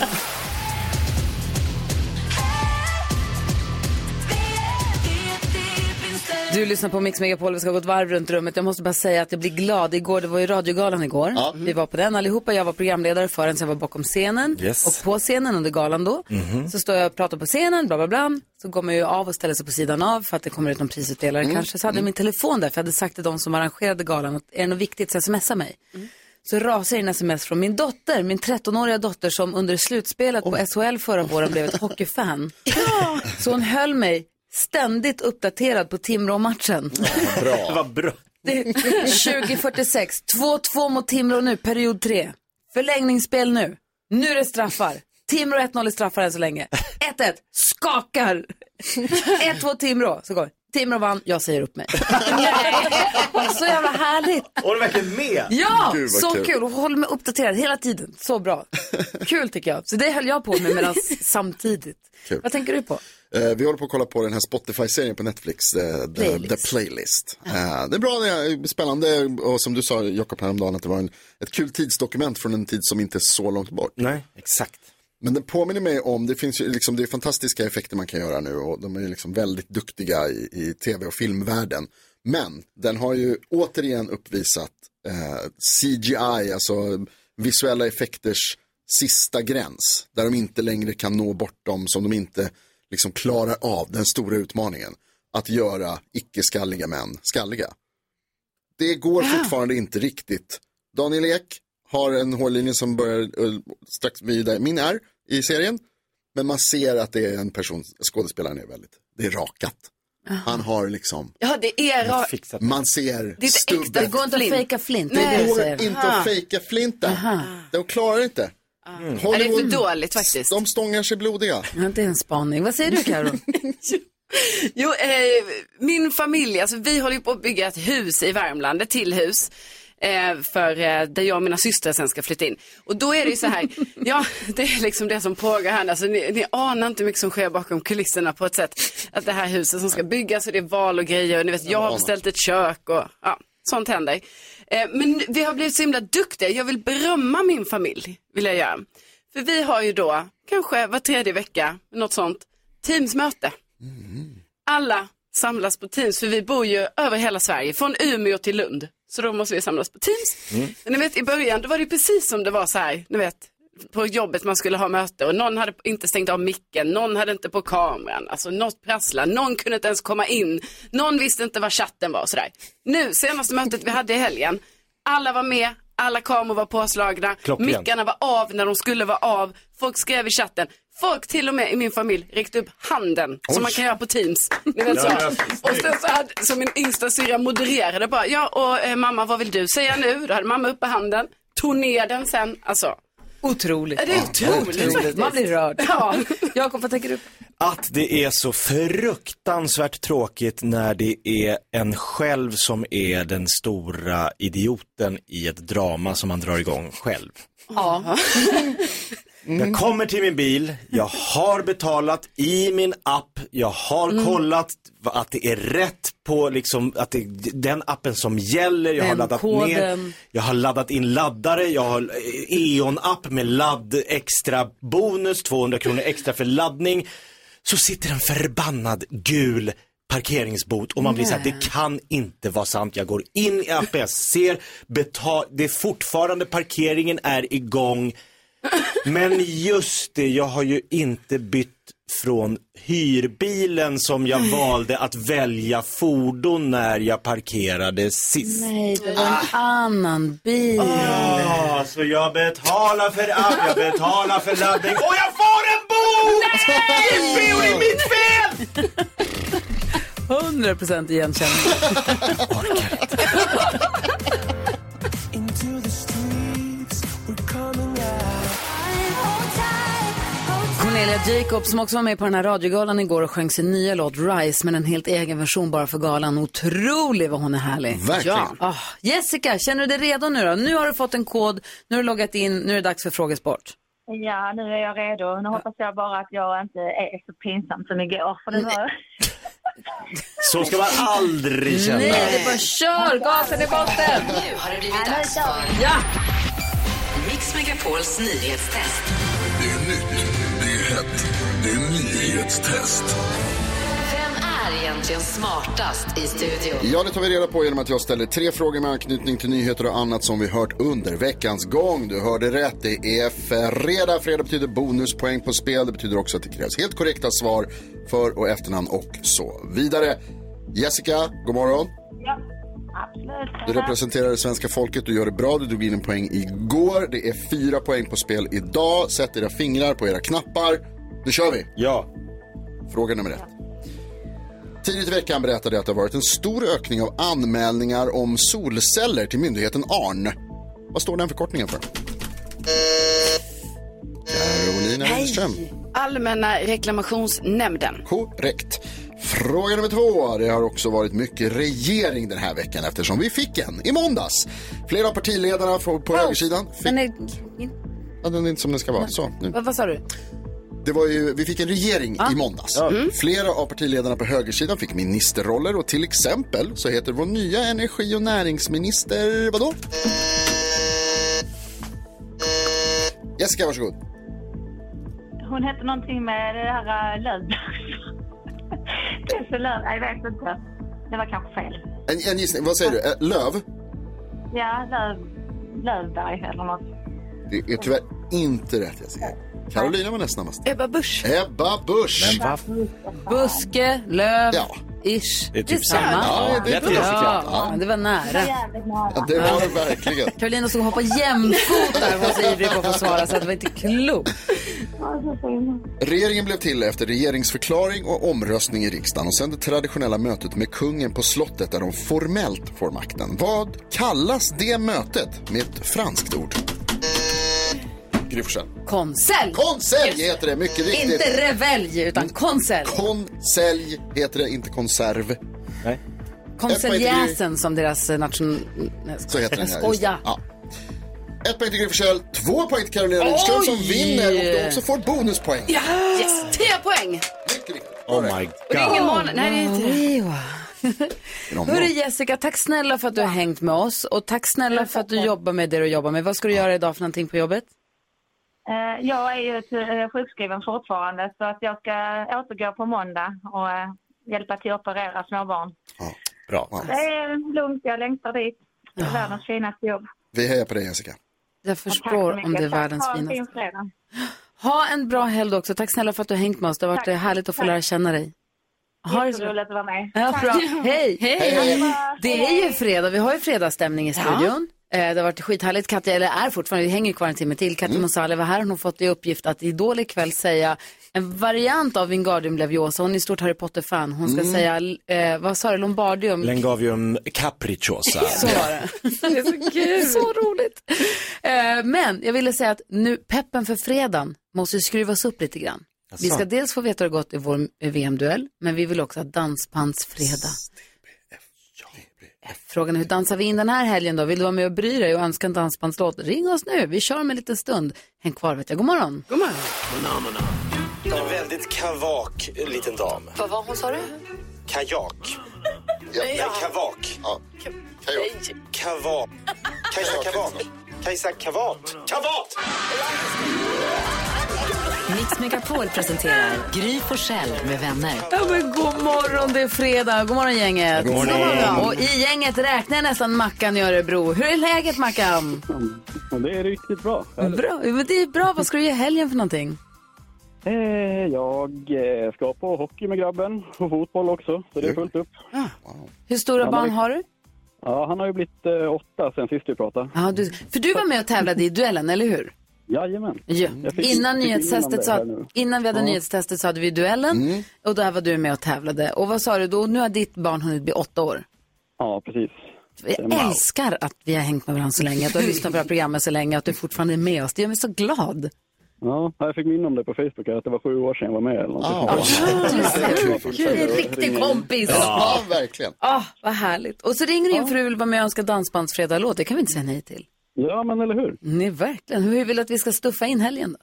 [SPEAKER 1] Du lyssnar på Mix Megapol, vi ska gå ett varv runt rummet. Jag måste bara säga att jag blir glad. Igår, det var ju radiogalan igår. Vi var på den allihopa. Jag var programledare för den, så jag var bakom scenen.
[SPEAKER 3] Yes.
[SPEAKER 1] Och på scenen under galan då, så står jag och pratar på scenen, bla bla bla. Så går man ju av och ställer sig på sidan av för att det kommer ut någon prisutdelare kanske. Så hade jag min telefon där, för jag hade sagt till de som arrangerade galan att är det något viktigt så smsa mig. så rasar in sms från min dotter, min 13-åriga dotter som under slutspelet på SHL förra våren blev ett hockeyfan. Så hon höll mig ständigt uppdaterad på Timrå-matchen.
[SPEAKER 3] Bra. Vad bra.
[SPEAKER 1] Det är 2046, 2-2 mot Timrå nu, period 3. Förlängningsspel nu. Nu är det straffar. Timrå 1-0 i straffar än så länge. 1-1, skakar. 1-2 Timrå, så går Timrå vann, jag säger upp mig. Så jävla härligt.
[SPEAKER 3] Och du är verkligen med.
[SPEAKER 1] Ja,
[SPEAKER 3] Gud, vad
[SPEAKER 1] så kul. Och håller mig uppdaterad hela tiden. Så bra. Kul tycker jag. Så det höll jag på med medan samtidigt.
[SPEAKER 7] Kul.
[SPEAKER 1] Vad tänker du på?
[SPEAKER 7] Eh, vi håller på att kolla på den här Spotify-serien på Netflix, eh, The,
[SPEAKER 1] Playlist.
[SPEAKER 7] The Playlist. Eh, det är bra, det är spännande och som du sa Jakob häromdagen att det var en, ett kul tidsdokument från en tid som inte är så långt bort.
[SPEAKER 3] Nej, exakt.
[SPEAKER 7] Men den påminner mig om, det finns ju liksom, det är fantastiska effekter man kan göra nu och de är ju liksom väldigt duktiga i, i tv och filmvärlden. Men den har ju återigen uppvisat eh, CGI, alltså visuella effekters sista gräns. Där de inte längre kan nå bortom, som de inte liksom klarar av den stora utmaningen. Att göra icke-skalliga män skalliga. Det går
[SPEAKER 11] Ah.
[SPEAKER 7] fortfarande inte riktigt. Daniel Ek har en hårlinje som börjar eh, strax vid där min är i serien. Men man ser att det är en person, skådespelaren är väldigt, det är rakat. Han har liksom,
[SPEAKER 11] Ja, det är rakt.
[SPEAKER 7] man ser
[SPEAKER 11] Det är inte äkta.
[SPEAKER 7] stubben.
[SPEAKER 11] Det går inte att
[SPEAKER 7] Flint.
[SPEAKER 11] fejka flint, det är
[SPEAKER 7] Det
[SPEAKER 11] det jag
[SPEAKER 7] går
[SPEAKER 11] säger.
[SPEAKER 7] inte
[SPEAKER 11] Aha.
[SPEAKER 7] att fejka flint där. De klarar inte. Mm.
[SPEAKER 11] Ja, det är för dåligt
[SPEAKER 7] faktiskt. De stångar sig blodiga.
[SPEAKER 1] Ja, det är en spaning. Vad säger du Karo?
[SPEAKER 4] Jo, eh, min familj, alltså vi håller ju på att bygga ett hus i Värmland, ett till hus. Eh, för eh, där jag och mina systrar sen ska flytta in. Och då är det ju så här, ja det är liksom det som pågår här. Alltså, ni, ni anar inte hur mycket som sker bakom kulisserna på ett sätt. Att det här huset som ska byggas och det är val och grejer. Och ni vet, jag har beställt ett kök och ja, sånt händer. Eh, men vi har blivit så himla duktiga. Jag vill berömma min familj, vill jag göra. För vi har ju då, kanske var tredje vecka, något sånt, teamsmöte alla samlas på Teams, för vi bor ju över hela Sverige, från Umeå till Lund. Så då måste vi samlas på Teams. Men ni vet i början, då var det ju precis som det var så här, ni vet, på jobbet man skulle ha möte och någon hade inte stängt av micken, någon hade inte på kameran, alltså något prasslar, någon kunde inte ens komma in, någon visste inte var chatten var och sådär. Nu, senaste mötet vi hade i helgen, alla var med, alla kameror var påslagna,
[SPEAKER 11] Klockrent.
[SPEAKER 4] mickarna var av när de skulle vara av, folk skrev i chatten, folk till och med i min familj räckte upp handen
[SPEAKER 11] Oj.
[SPEAKER 4] som man kan göra på Teams. Ni vet så.
[SPEAKER 11] Ja,
[SPEAKER 4] Och sen så hade, så min yngsta syrra modererade bara, ja och eh, mamma vad vill du säga nu? Då hade mamma uppe handen, tog ner den sen, alltså.
[SPEAKER 1] Otroligt.
[SPEAKER 4] Det är otroligt. faktiskt.
[SPEAKER 1] Man blir rörd.
[SPEAKER 4] Ja.
[SPEAKER 1] Jakob, vad tänker du?
[SPEAKER 3] Att det är så fruktansvärt tråkigt när det är en själv som är den stora idioten i ett drama som man drar igång själv.
[SPEAKER 4] Ja.
[SPEAKER 1] Mm.
[SPEAKER 3] Jag kommer till min bil, jag har betalat i min app, jag har
[SPEAKER 1] Mm.
[SPEAKER 3] kollat att det är rätt på liksom, att det är den appen som gäller, jag har
[SPEAKER 1] Den
[SPEAKER 3] laddat
[SPEAKER 1] koden.
[SPEAKER 3] ner, jag har laddat in laddare, jag har eh, E.ON-app med ladd extra bonus, 200 kronor extra för laddning. Så sitter en förbannad gul parkeringsbot och man blir så här,
[SPEAKER 1] Nej.
[SPEAKER 3] det kan inte vara sant. Jag går in i appen, jag ser, betal, det är fortfarande, parkeringen är igång. Men just det, jag har ju inte bytt från hyrbilen som jag valde att välja fordon när jag parkerade sist.
[SPEAKER 1] Nej, det var en annan bil.
[SPEAKER 3] Ja, så jag betalar för app, jag betalar för laddning och jag får en bot! Jippi, och det är mitt fel!
[SPEAKER 1] 100% igenkänning.
[SPEAKER 12] Into the streets, we're coming
[SPEAKER 1] Cornelia Jacob som också var med på den här radiogalan igår och sjöng sin nya låt Rise men en helt egen version bara för galan. Otrolig vad hon är härlig.
[SPEAKER 7] Verkligen.
[SPEAKER 1] Ja. Ah, Jessica, känner du dig redo nu då? Nu har du fått en kod, nu har du loggat in, nu är det dags för frågesport.
[SPEAKER 13] Ja, nu är jag redo. Nu hoppas jag bara att jag inte är så pinsam som igår. För nu var...
[SPEAKER 3] Så ska man aldrig känna.
[SPEAKER 1] Nej, det är bara kör! Gasen i botten!
[SPEAKER 14] Nu har det blivit dags för
[SPEAKER 1] Ja!
[SPEAKER 14] Mix Megapols nyhetstest.
[SPEAKER 12] Det är nytt, det är hett, det är nyhetstest.
[SPEAKER 14] Vem är egentligen smartast i studion?
[SPEAKER 7] Ja, det tar vi reda på genom att jag ställer tre frågor med anknytning till nyheter och annat som vi hört under veckans gång. Du hörde rätt, det är fredag. Fredag betyder bonuspoäng på spel. Det betyder också att det krävs helt korrekta svar för och efternamn och så vidare. Jessica, god morgon.
[SPEAKER 13] Ja. Ja, Absolut.
[SPEAKER 7] Du representerar det svenska folket, du gör det bra, du drog in en poäng igår. Det är fyra poäng på spel idag. Sätt era fingrar på era knappar. Nu kör vi!
[SPEAKER 3] Ja.
[SPEAKER 7] Fråga nummer ett. Tidigt i veckan berättade jag att det har varit en stor ökning av anmälningar om solceller till myndigheten ARN. Vad står den förkortningen för? Carolina Lindström.
[SPEAKER 4] Allmänna reklamationsnämnden.
[SPEAKER 7] Korrekt. Fråga nummer två. Det har också varit mycket regering den här veckan eftersom vi fick en i måndags. Flera av partiledarna på, på högersidan.
[SPEAKER 1] Den är...
[SPEAKER 7] Ja, den är inte som den ska vara. Så, nu.
[SPEAKER 1] Vad, vad sa du?
[SPEAKER 7] Det var ju, vi fick en regering i måndags.
[SPEAKER 1] Mm.
[SPEAKER 7] Flera av partiledarna på högersidan fick ministerroller och till exempel så heter vår nya energi och näringsminister vadå? Jessica, varsågod.
[SPEAKER 13] Hon hette någonting med det här äh, Löfbergs. Tesse Löf, jag vet inte. Det var kanske fel.
[SPEAKER 7] En, en gissning, vad säger du? Eh, Löv?
[SPEAKER 13] Ja, Löf, Löfberg eller något.
[SPEAKER 7] Det är tyvärr inte rätt, Jessica. Carolina var näst snabbast.
[SPEAKER 10] Ebba Busch.
[SPEAKER 7] Ebba Busch.
[SPEAKER 3] Men vad
[SPEAKER 1] Buske, löv, ish.
[SPEAKER 7] Det är typ
[SPEAKER 1] samma.
[SPEAKER 7] samma. Ja, det är
[SPEAKER 1] bra.
[SPEAKER 7] typ samma.
[SPEAKER 1] Ja, men det var nära.
[SPEAKER 7] Ja, det var det verkligen.
[SPEAKER 1] Carolina stod och hoppade jämfota. Hon var så Alltså, ivrig på att få svara så att det var inte klokt.
[SPEAKER 7] Regeringen blev till efter regeringsförklaring och omröstning i riksdagen och sen det traditionella mötet med kungen på slottet där de formellt får makten. Vad kallas det mötet med ett franskt ord? Gry Forssell.
[SPEAKER 1] Konselj.
[SPEAKER 7] Konselj heter det, mycket riktigt. Mm.
[SPEAKER 1] Inte revelj, utan konselj.
[SPEAKER 7] Konselj heter det, inte konserv. Nej.
[SPEAKER 1] Konseljäsen som deras eh, nation... Nej,
[SPEAKER 7] Så heter den,
[SPEAKER 1] jag
[SPEAKER 7] ja, just det.
[SPEAKER 1] skojar.
[SPEAKER 7] Ja. Ett poäng till Gry Forssell, två poäng till Carolina Lindström som
[SPEAKER 1] Oj!
[SPEAKER 7] vinner och de också får bonuspoäng.
[SPEAKER 4] Ja! Yes, tre poäng!
[SPEAKER 3] Oh my god.
[SPEAKER 4] Det är ingen
[SPEAKER 13] Oh,
[SPEAKER 4] månad. Nej, det är inte det.
[SPEAKER 1] Hörru Jessica, tack snälla för att du har hängt med oss och tack snälla för att du jobbar med det du jobbar med. Vad ska du göra idag för någonting på jobbet?
[SPEAKER 13] Eh, Jag är ju ty- eh, sjukskriven fortfarande så att jag ska återgå på måndag och eh, hjälpa till att operera småbarn.
[SPEAKER 3] Bra.
[SPEAKER 13] Det är lugnt, jag längtar dit. Det är världens finaste jobb.
[SPEAKER 7] Vi hejar på dig Jessica.
[SPEAKER 1] Jag förstår om det är världens finaste.
[SPEAKER 13] finaste.
[SPEAKER 1] Ha en bra helg också. Tack snälla för att du har hängt med oss. Det har varit
[SPEAKER 13] Tack.
[SPEAKER 1] eh, härligt att få
[SPEAKER 13] Tack.
[SPEAKER 1] lära känna dig. Ha det så bra.
[SPEAKER 13] Jätteroligt att vara med.
[SPEAKER 1] Ja,
[SPEAKER 13] Tack.
[SPEAKER 1] bra. Hej.
[SPEAKER 13] Hej, hej.
[SPEAKER 1] Det är ju fredag, vi har ju fredagsstämning i studion. Eh, Det har varit skithärligt. Katja, eller är fortfarande, vi hänger ju kvar en timme till. Katja Monsale var här, hon har fått i uppgift att i Idol ikväll säga en variant av Wingardium Leviosa. Hon är stort Harry Potter-fan. Hon ska
[SPEAKER 3] Mm.
[SPEAKER 1] säga, eh, vad sa du, Lombardium?
[SPEAKER 3] Lengavium capricciosa.
[SPEAKER 1] Så var det. det är så kul. så roligt. Eh, men jag ville säga att nu peppen för fredagen måste ju skruvas upp lite grann.
[SPEAKER 3] Jaså?
[SPEAKER 1] Vi ska dels få veta hur det gått i vår eh, VM-duell, men vi vill också ha dansbandsfredag. Frågan är hur dansar vi in den här helgen då? Vill du vara med och bry dig och önska en dansbandslåt? Ring oss nu, vi kör om en liten stund. Häng kvar vet jag, god morgon.
[SPEAKER 4] God morgon.
[SPEAKER 3] En väldigt kavak eh, liten dam.
[SPEAKER 1] Vad var hon sa du?
[SPEAKER 3] Kajak.
[SPEAKER 7] Ja.
[SPEAKER 3] Nej, kavak.
[SPEAKER 7] Ja.
[SPEAKER 3] Kajak. Kavak. Kajsa Kavat. Kajsa Kavat. Kavat!
[SPEAKER 14] Mix Megapol presenterar Gry Forssell med vänner.
[SPEAKER 1] Ja, men god morgon, det är fredag. God morgon gänget.
[SPEAKER 14] God morgon. God morgon.
[SPEAKER 1] Och i gänget räknar jag nästan Mackan i Örebro. Hur är läget Mackan?
[SPEAKER 15] Men det är riktigt bra.
[SPEAKER 1] Bra, men det är bra. Vad ska du göra i helgen för någonting?
[SPEAKER 15] Eh, Jag eh, ska på hockey med grabben och fotboll också, så det är fullt upp.
[SPEAKER 1] Ah. Hur stora
[SPEAKER 15] Ja,
[SPEAKER 1] barn
[SPEAKER 15] men-
[SPEAKER 1] har du?
[SPEAKER 15] Ja, han har ju blivit eh, åtta sen sist vi pratade.
[SPEAKER 1] Ja, du, för du var med och tävlade i duellen, eller hur?
[SPEAKER 15] Jajamän.
[SPEAKER 1] Ja.
[SPEAKER 15] Jag fick-
[SPEAKER 1] Innan,
[SPEAKER 15] fick in
[SPEAKER 1] nyhetstestet
[SPEAKER 15] det här
[SPEAKER 1] så,
[SPEAKER 15] nu.
[SPEAKER 1] innan vi hade
[SPEAKER 15] Ja. Mm.
[SPEAKER 1] nyhetstestet så hade vi duellen och där var du med och tävlade. Och vad sa du då? Nu har ditt barn hunnit bli åtta år.
[SPEAKER 15] Ja, precis.
[SPEAKER 1] Jag älskar att vi har hängt med varandra så länge, att du har lyssnat på det här programmet så länge, att du fortfarande är med oss. Det gör mig så glad.
[SPEAKER 15] Ja, jag fick minne om det på Facebook, att det var sju år sedan jag var med eller något.
[SPEAKER 7] Ja,
[SPEAKER 1] Ah, Du är en riktig kompis.
[SPEAKER 7] Ja, verkligen.
[SPEAKER 1] Ah, vad härligt. Och så ringer din fru och vill vara med och önska dansbandsfredag-låt. Det kan vi inte säga nej till.
[SPEAKER 15] Ja, men eller hur?
[SPEAKER 1] Nej, verkligen. Hur vill du att vi ska stuffa in helgen då?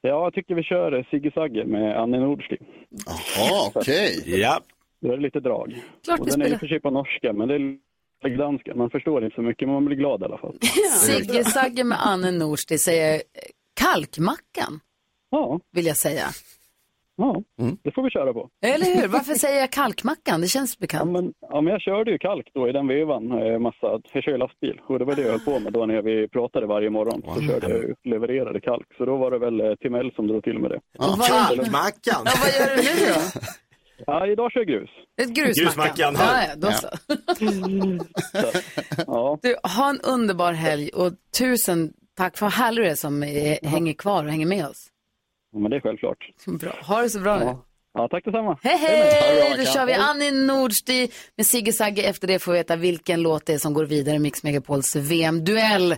[SPEAKER 15] Ja, jag tycker vi kör eh, Ziggy Zagge med Annie Nordström.
[SPEAKER 7] Jaha, okej.
[SPEAKER 3] Ja.
[SPEAKER 15] Då är det lite drag.
[SPEAKER 1] Klart
[SPEAKER 15] och
[SPEAKER 1] vi
[SPEAKER 15] den är i
[SPEAKER 1] spelar.
[SPEAKER 15] och för sig på norska, men det är lite danska. Man förstår inte så mycket, men man blir glad i alla fall.
[SPEAKER 1] Sigge Sagge med Anne Nors, det säger eh, kalkmackan.
[SPEAKER 15] Ja.
[SPEAKER 1] Vill jag säga.
[SPEAKER 15] Ja,
[SPEAKER 7] Mm.
[SPEAKER 15] det får vi köra på.
[SPEAKER 1] Eller hur? Varför säger jag kalkmackan? Det känns bekant.
[SPEAKER 15] Ja, men jag körde ju kalk då i den vevan. eh, Massa, jag kör ju lastbil och det var det jag höll på med då när vi pratade varje morgon. Så körde jag ju- levererade kalk.
[SPEAKER 7] Ah,
[SPEAKER 15] Så då var det väl eh, Timell som drog till med det.
[SPEAKER 1] Och vad- Kalkmackan.
[SPEAKER 15] Ja, vad
[SPEAKER 1] gör du nu då?
[SPEAKER 15] Ja, idag kör jag grus.
[SPEAKER 1] Ett grusmackan. Ja, ja, då så.
[SPEAKER 15] Ja.
[SPEAKER 1] Du, ha en underbar helg och tusen tack för vad härlig du är som eh, hänger kvar och hänger med oss.
[SPEAKER 15] Ja, Men det är självklart.
[SPEAKER 1] Bra. Ha det så bra nu.
[SPEAKER 15] Ja, ja tack detsamma.
[SPEAKER 1] Hej,
[SPEAKER 15] Ha det
[SPEAKER 1] hej!
[SPEAKER 15] bra,
[SPEAKER 1] Då
[SPEAKER 15] Mackan.
[SPEAKER 1] kör vi Annie Nordstig med Sigge Sagge. Efter det får vi veta vilken låt det är som går vidare i Mix Megapols VM-duell.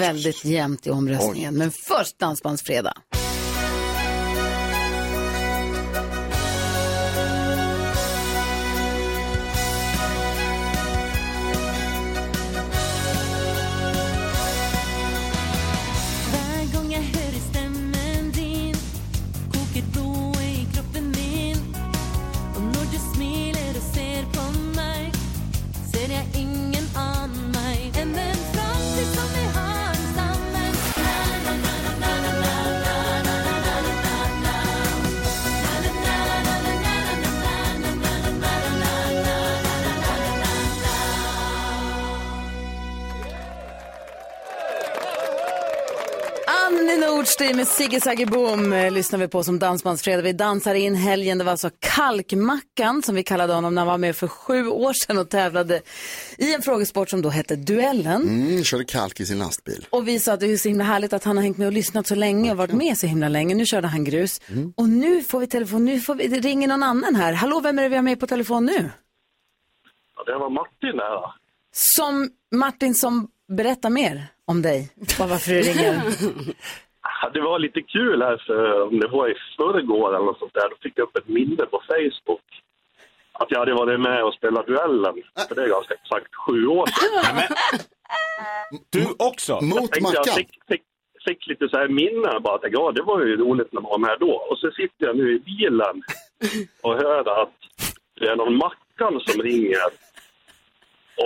[SPEAKER 1] Väldigt jämnt i omröstningen, men först Dansbandsfredag.
[SPEAKER 16] Varje gång jag hör i stämmen din kokar blod i kroppen min Och när du smiler och ser på mig ser jag ingen annan mig än den framtid som vi har tillsammans Na, na, na, na, na, na, na, na, na, na, na, na, na. Na, na, na, na, na, na, na, na, na, na, na, na, na, na, na, na, na.
[SPEAKER 1] Annie Nordstig med Sigge Sagge Boom eh, lyssnar vi på som Dansbandsfredag. Vi dansar in helgen. Det var alltså Kalkmackan som vi kallade honom när han var med för sju år sedan och tävlade i en frågesport som då hette Duellen.
[SPEAKER 7] Mm, körde kalk i sin lastbil.
[SPEAKER 1] Och vi sa att det är så himla härligt att han har hängt med och lyssnat så länge och varit med så himla länge. Nu körde han grus. Och nu får vi telefon, nu får vi, det ringer någon annan här. Hallå, vem är det vi har med på telefon nu?
[SPEAKER 17] Ja, det var Martin här.
[SPEAKER 1] Som Martin som berättar mer om dig och varför du ringer.
[SPEAKER 17] Ja, Det var lite kul här för, om det var i förrgår eller något sånt där, då fick jag upp ett minne på Facebook. Att jag hade varit med och spelat duellen, för det är ganska exakt sju år sedan.
[SPEAKER 3] Du också?
[SPEAKER 17] jag tänkte, jag fick, fick, fick lite så här minnen bara, tänkte, ja det var ju roligt när man var med då. Och så sitter jag nu i bilen och hör att det är någon Mackan som ringer.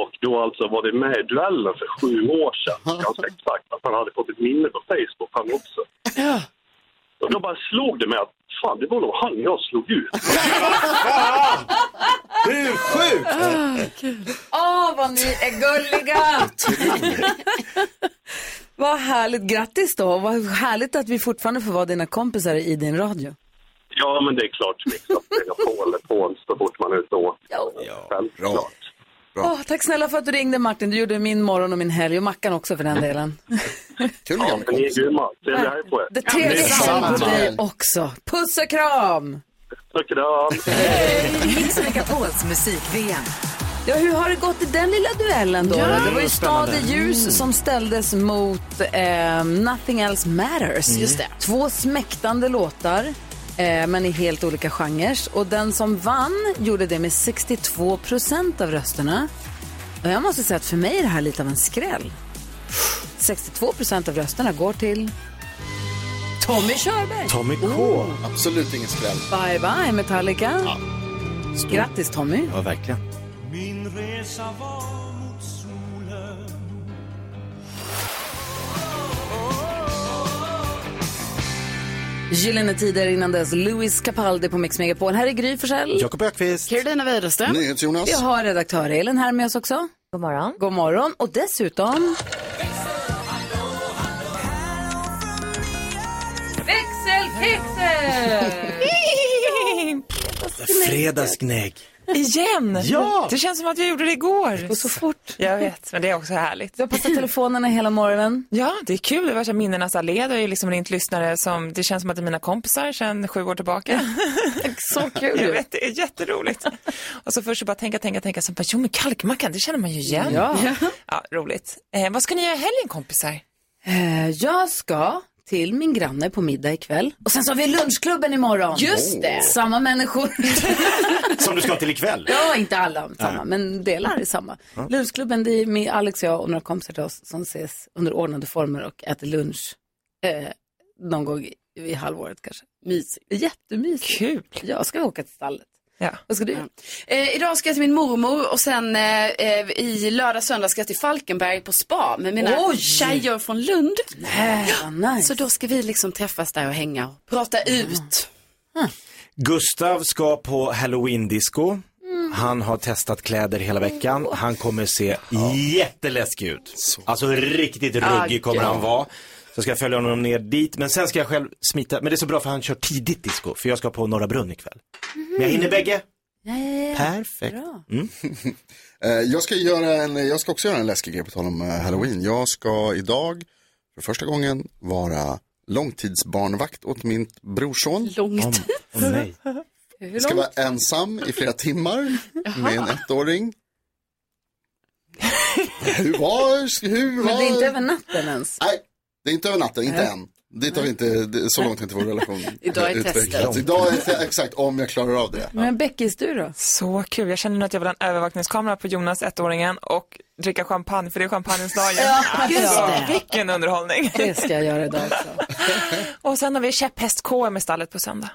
[SPEAKER 17] Och då alltså var det med i duellen för sju år sedan, ganska exakt, att han hade fått ett minne på Facebook han också. Och då bara slog det mig att fan, det var nog han jag slog ut.
[SPEAKER 3] Hur sjukt!
[SPEAKER 1] Åh, vad ni är gulliga! vad härligt, grattis då. Vad härligt att vi fortfarande får vara dina kompisar i din radio.
[SPEAKER 17] Ja, men det är klart liksom, att det är Polen så fort man är ute och åker. Självklart.
[SPEAKER 1] Åh, tack snälla för att du ringde Martin. Du gjorde min morgon och min helg och Mackan också för den delen.
[SPEAKER 17] Kul med gamla kompisar. Ni är grymma. Trevlig helg på er.
[SPEAKER 1] Det trevlig helg på dig också. Puss och kram!
[SPEAKER 17] Tack och
[SPEAKER 1] Mix Megapols musik-VM. Ja, hur har det gått i den lilla duellen då?
[SPEAKER 18] Ja.
[SPEAKER 1] det var ju Mm. Stad i
[SPEAKER 18] Spännande.
[SPEAKER 1] ljus som ställdes mot eh, Nothing Else Matters.
[SPEAKER 18] Mm. Just det.
[SPEAKER 1] Två smäktande låtar, eh, men i helt olika genrer. Och den som vann gjorde det med 62 procent av rösterna. Och jag måste säga att för mig är det här lite av en skräll. 62 procent av rösterna går till Tommy Körberg.
[SPEAKER 3] Tommy K.
[SPEAKER 7] Absolut ingen skräll.
[SPEAKER 1] Bye bye Metallica. Grattis Tommy.
[SPEAKER 3] Ja, verkligen.
[SPEAKER 12] Min resa var mot solen
[SPEAKER 1] Gyllene tider innan dess, Louis Capaldi på Mix Megapol. Här är Gry Forssell.
[SPEAKER 3] Jakob Ökvist.
[SPEAKER 1] Carolina Widerström.
[SPEAKER 7] NyhetsJonas.
[SPEAKER 1] Vi har redaktör Elin här med oss också. God morgon. God morgon. Och dessutom...
[SPEAKER 18] Växelkexel!
[SPEAKER 3] Fredagsgnägg.
[SPEAKER 18] Igen!
[SPEAKER 3] Ja!
[SPEAKER 18] Det känns som att jag gjorde det igår. Det går
[SPEAKER 1] så fort.
[SPEAKER 18] Jag vet, men det är också härligt.
[SPEAKER 1] Du har passat telefonerna hela morgonen.
[SPEAKER 18] Ja, det är kul. Det var så här minnenas allé. Det är ju liksom ringt lyssnare som, det känns som att det är mina kompisar sedan sju år tillbaka.
[SPEAKER 1] så kul
[SPEAKER 18] Jag vet, det är jätteroligt. Och så först så bara tänka, tänka, tänka, sen bara, jo men kalkmackan, det känner man ju igen.
[SPEAKER 1] Ja.
[SPEAKER 18] ja roligt. Eh, vad ska ni göra i helgen kompisar?
[SPEAKER 1] Eh, jag ska till min granne på middag ikväll. Och sen så har vi lunchklubben imorgon. Oh.
[SPEAKER 18] Just det.
[SPEAKER 1] Samma människor.
[SPEAKER 3] Som du ska till ikväll.
[SPEAKER 1] Ja, inte alla samma,
[SPEAKER 3] Nej.
[SPEAKER 1] men delar är samma.
[SPEAKER 3] Ja.
[SPEAKER 1] Lunchklubben, det är med Alex och jag och några kompisar till oss som ses under ordnade former och äter lunch eh, någon gång i, i halvåret kanske. Mysigt. Jättemysigt.
[SPEAKER 18] Kul.
[SPEAKER 1] Jag ska åka till stallet.
[SPEAKER 18] Ja.
[SPEAKER 1] Vad ska du göra?
[SPEAKER 4] Eh, idag ska jag till min mormor och sen eh, eh, i lördag söndag ska jag till Falkenberg på spa med mina
[SPEAKER 1] Oj!
[SPEAKER 4] tjejer från Lund.
[SPEAKER 1] Nej, nice.
[SPEAKER 4] Så då ska vi liksom träffas där och hänga och prata ut.
[SPEAKER 3] Gustav ska på halloween-disco. Han har testat kläder hela veckan. Han alltså kommer se jätteläskig ut. Alltså riktigt ruggig kommer han vara. Så ska jag följa honom ner dit, men sen ska jag själv smita. Men det är så bra för han kör tidigt disco, för jag ska på Norra Brunn ikväll. Men jag hinner bägge.
[SPEAKER 1] Ja, ja, ja.
[SPEAKER 3] Perfekt. Mm.
[SPEAKER 7] Eh, jag, ska göra en, jag ska också göra en läskig grej på tal om eh, halloween. Jag ska idag för första gången vara långtidsbarnvakt åt min brorson.
[SPEAKER 4] Långtids?
[SPEAKER 7] Om, om nej.
[SPEAKER 4] Hur
[SPEAKER 7] Jag ska vara ensam i flera timmar med en ettåring. Hur var, hur var...
[SPEAKER 1] Men det är inte över natten ens.
[SPEAKER 7] Nej, det är inte över natten, inte än. Dit har vi inte, det- så långt har inte vår relation
[SPEAKER 1] Idag är
[SPEAKER 7] utvecklats.
[SPEAKER 1] testet.
[SPEAKER 7] Idag är te- exakt, om jag klarar av det.
[SPEAKER 1] Men Beckis, du då?
[SPEAKER 18] Så kul. Jag känner nu att jag vill ha en övervakningskamera på Jonas, ettåringen, och dricka champagne, för det är champagnens dag.
[SPEAKER 1] Ja, just
[SPEAKER 18] alltså,
[SPEAKER 1] det.
[SPEAKER 18] vilken underhållning.
[SPEAKER 1] Det ska jag göra idag också.
[SPEAKER 18] Och sen har vi käpphäst-KM i stallet på söndag.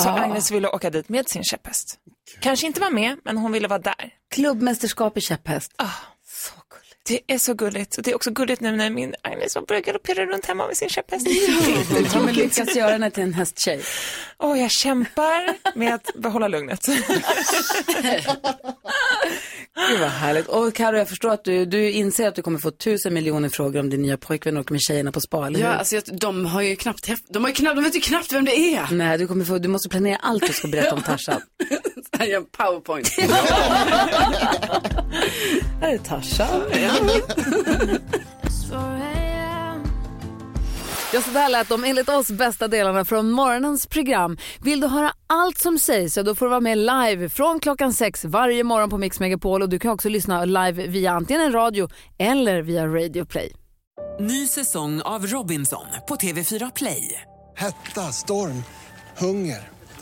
[SPEAKER 18] Så
[SPEAKER 1] Ah.
[SPEAKER 18] Agnes ville åka dit med sin käpphäst. Kanske inte vara med, men hon ville vara där.
[SPEAKER 1] Klubbmästerskap i käpphäst.
[SPEAKER 18] Det är så gulligt. Och det är också gulligt nu när min Agnes var börjar galoppera runt hemma med sin käpphäst. Det är
[SPEAKER 1] Kommer
[SPEAKER 18] tråkigt.
[SPEAKER 1] lyckas göra henne till en hästtjej.
[SPEAKER 18] Åh, jag kämpar med att behålla lugnet.
[SPEAKER 1] Gud vad härligt. Och Karo, jag förstår att du, du inser att du kommer få tusen miljoner frågor om din nya pojkvän och med tjejerna på spa, eller hur?
[SPEAKER 4] Ja, alltså jag, de har ju knappt häft, de har ju knappt, de vet ju knappt vem det är.
[SPEAKER 1] Nej, du, kommer få, du måste planera allt du ska berätta om Tarzan.
[SPEAKER 4] Jag gör en powerpoint.
[SPEAKER 1] Här är Tarzan. Ja, så där lät de enligt oss bästa delarna från morgonens program. Vill du höra allt som sägs så då får du vara med live från klockan sex varje morgon på Mix Megapol och du kan också lyssna live via antingen en radio eller via Radio Play.
[SPEAKER 19] Ny säsong av Robinson på TV4 Play.
[SPEAKER 5] Hetta, storm, hunger.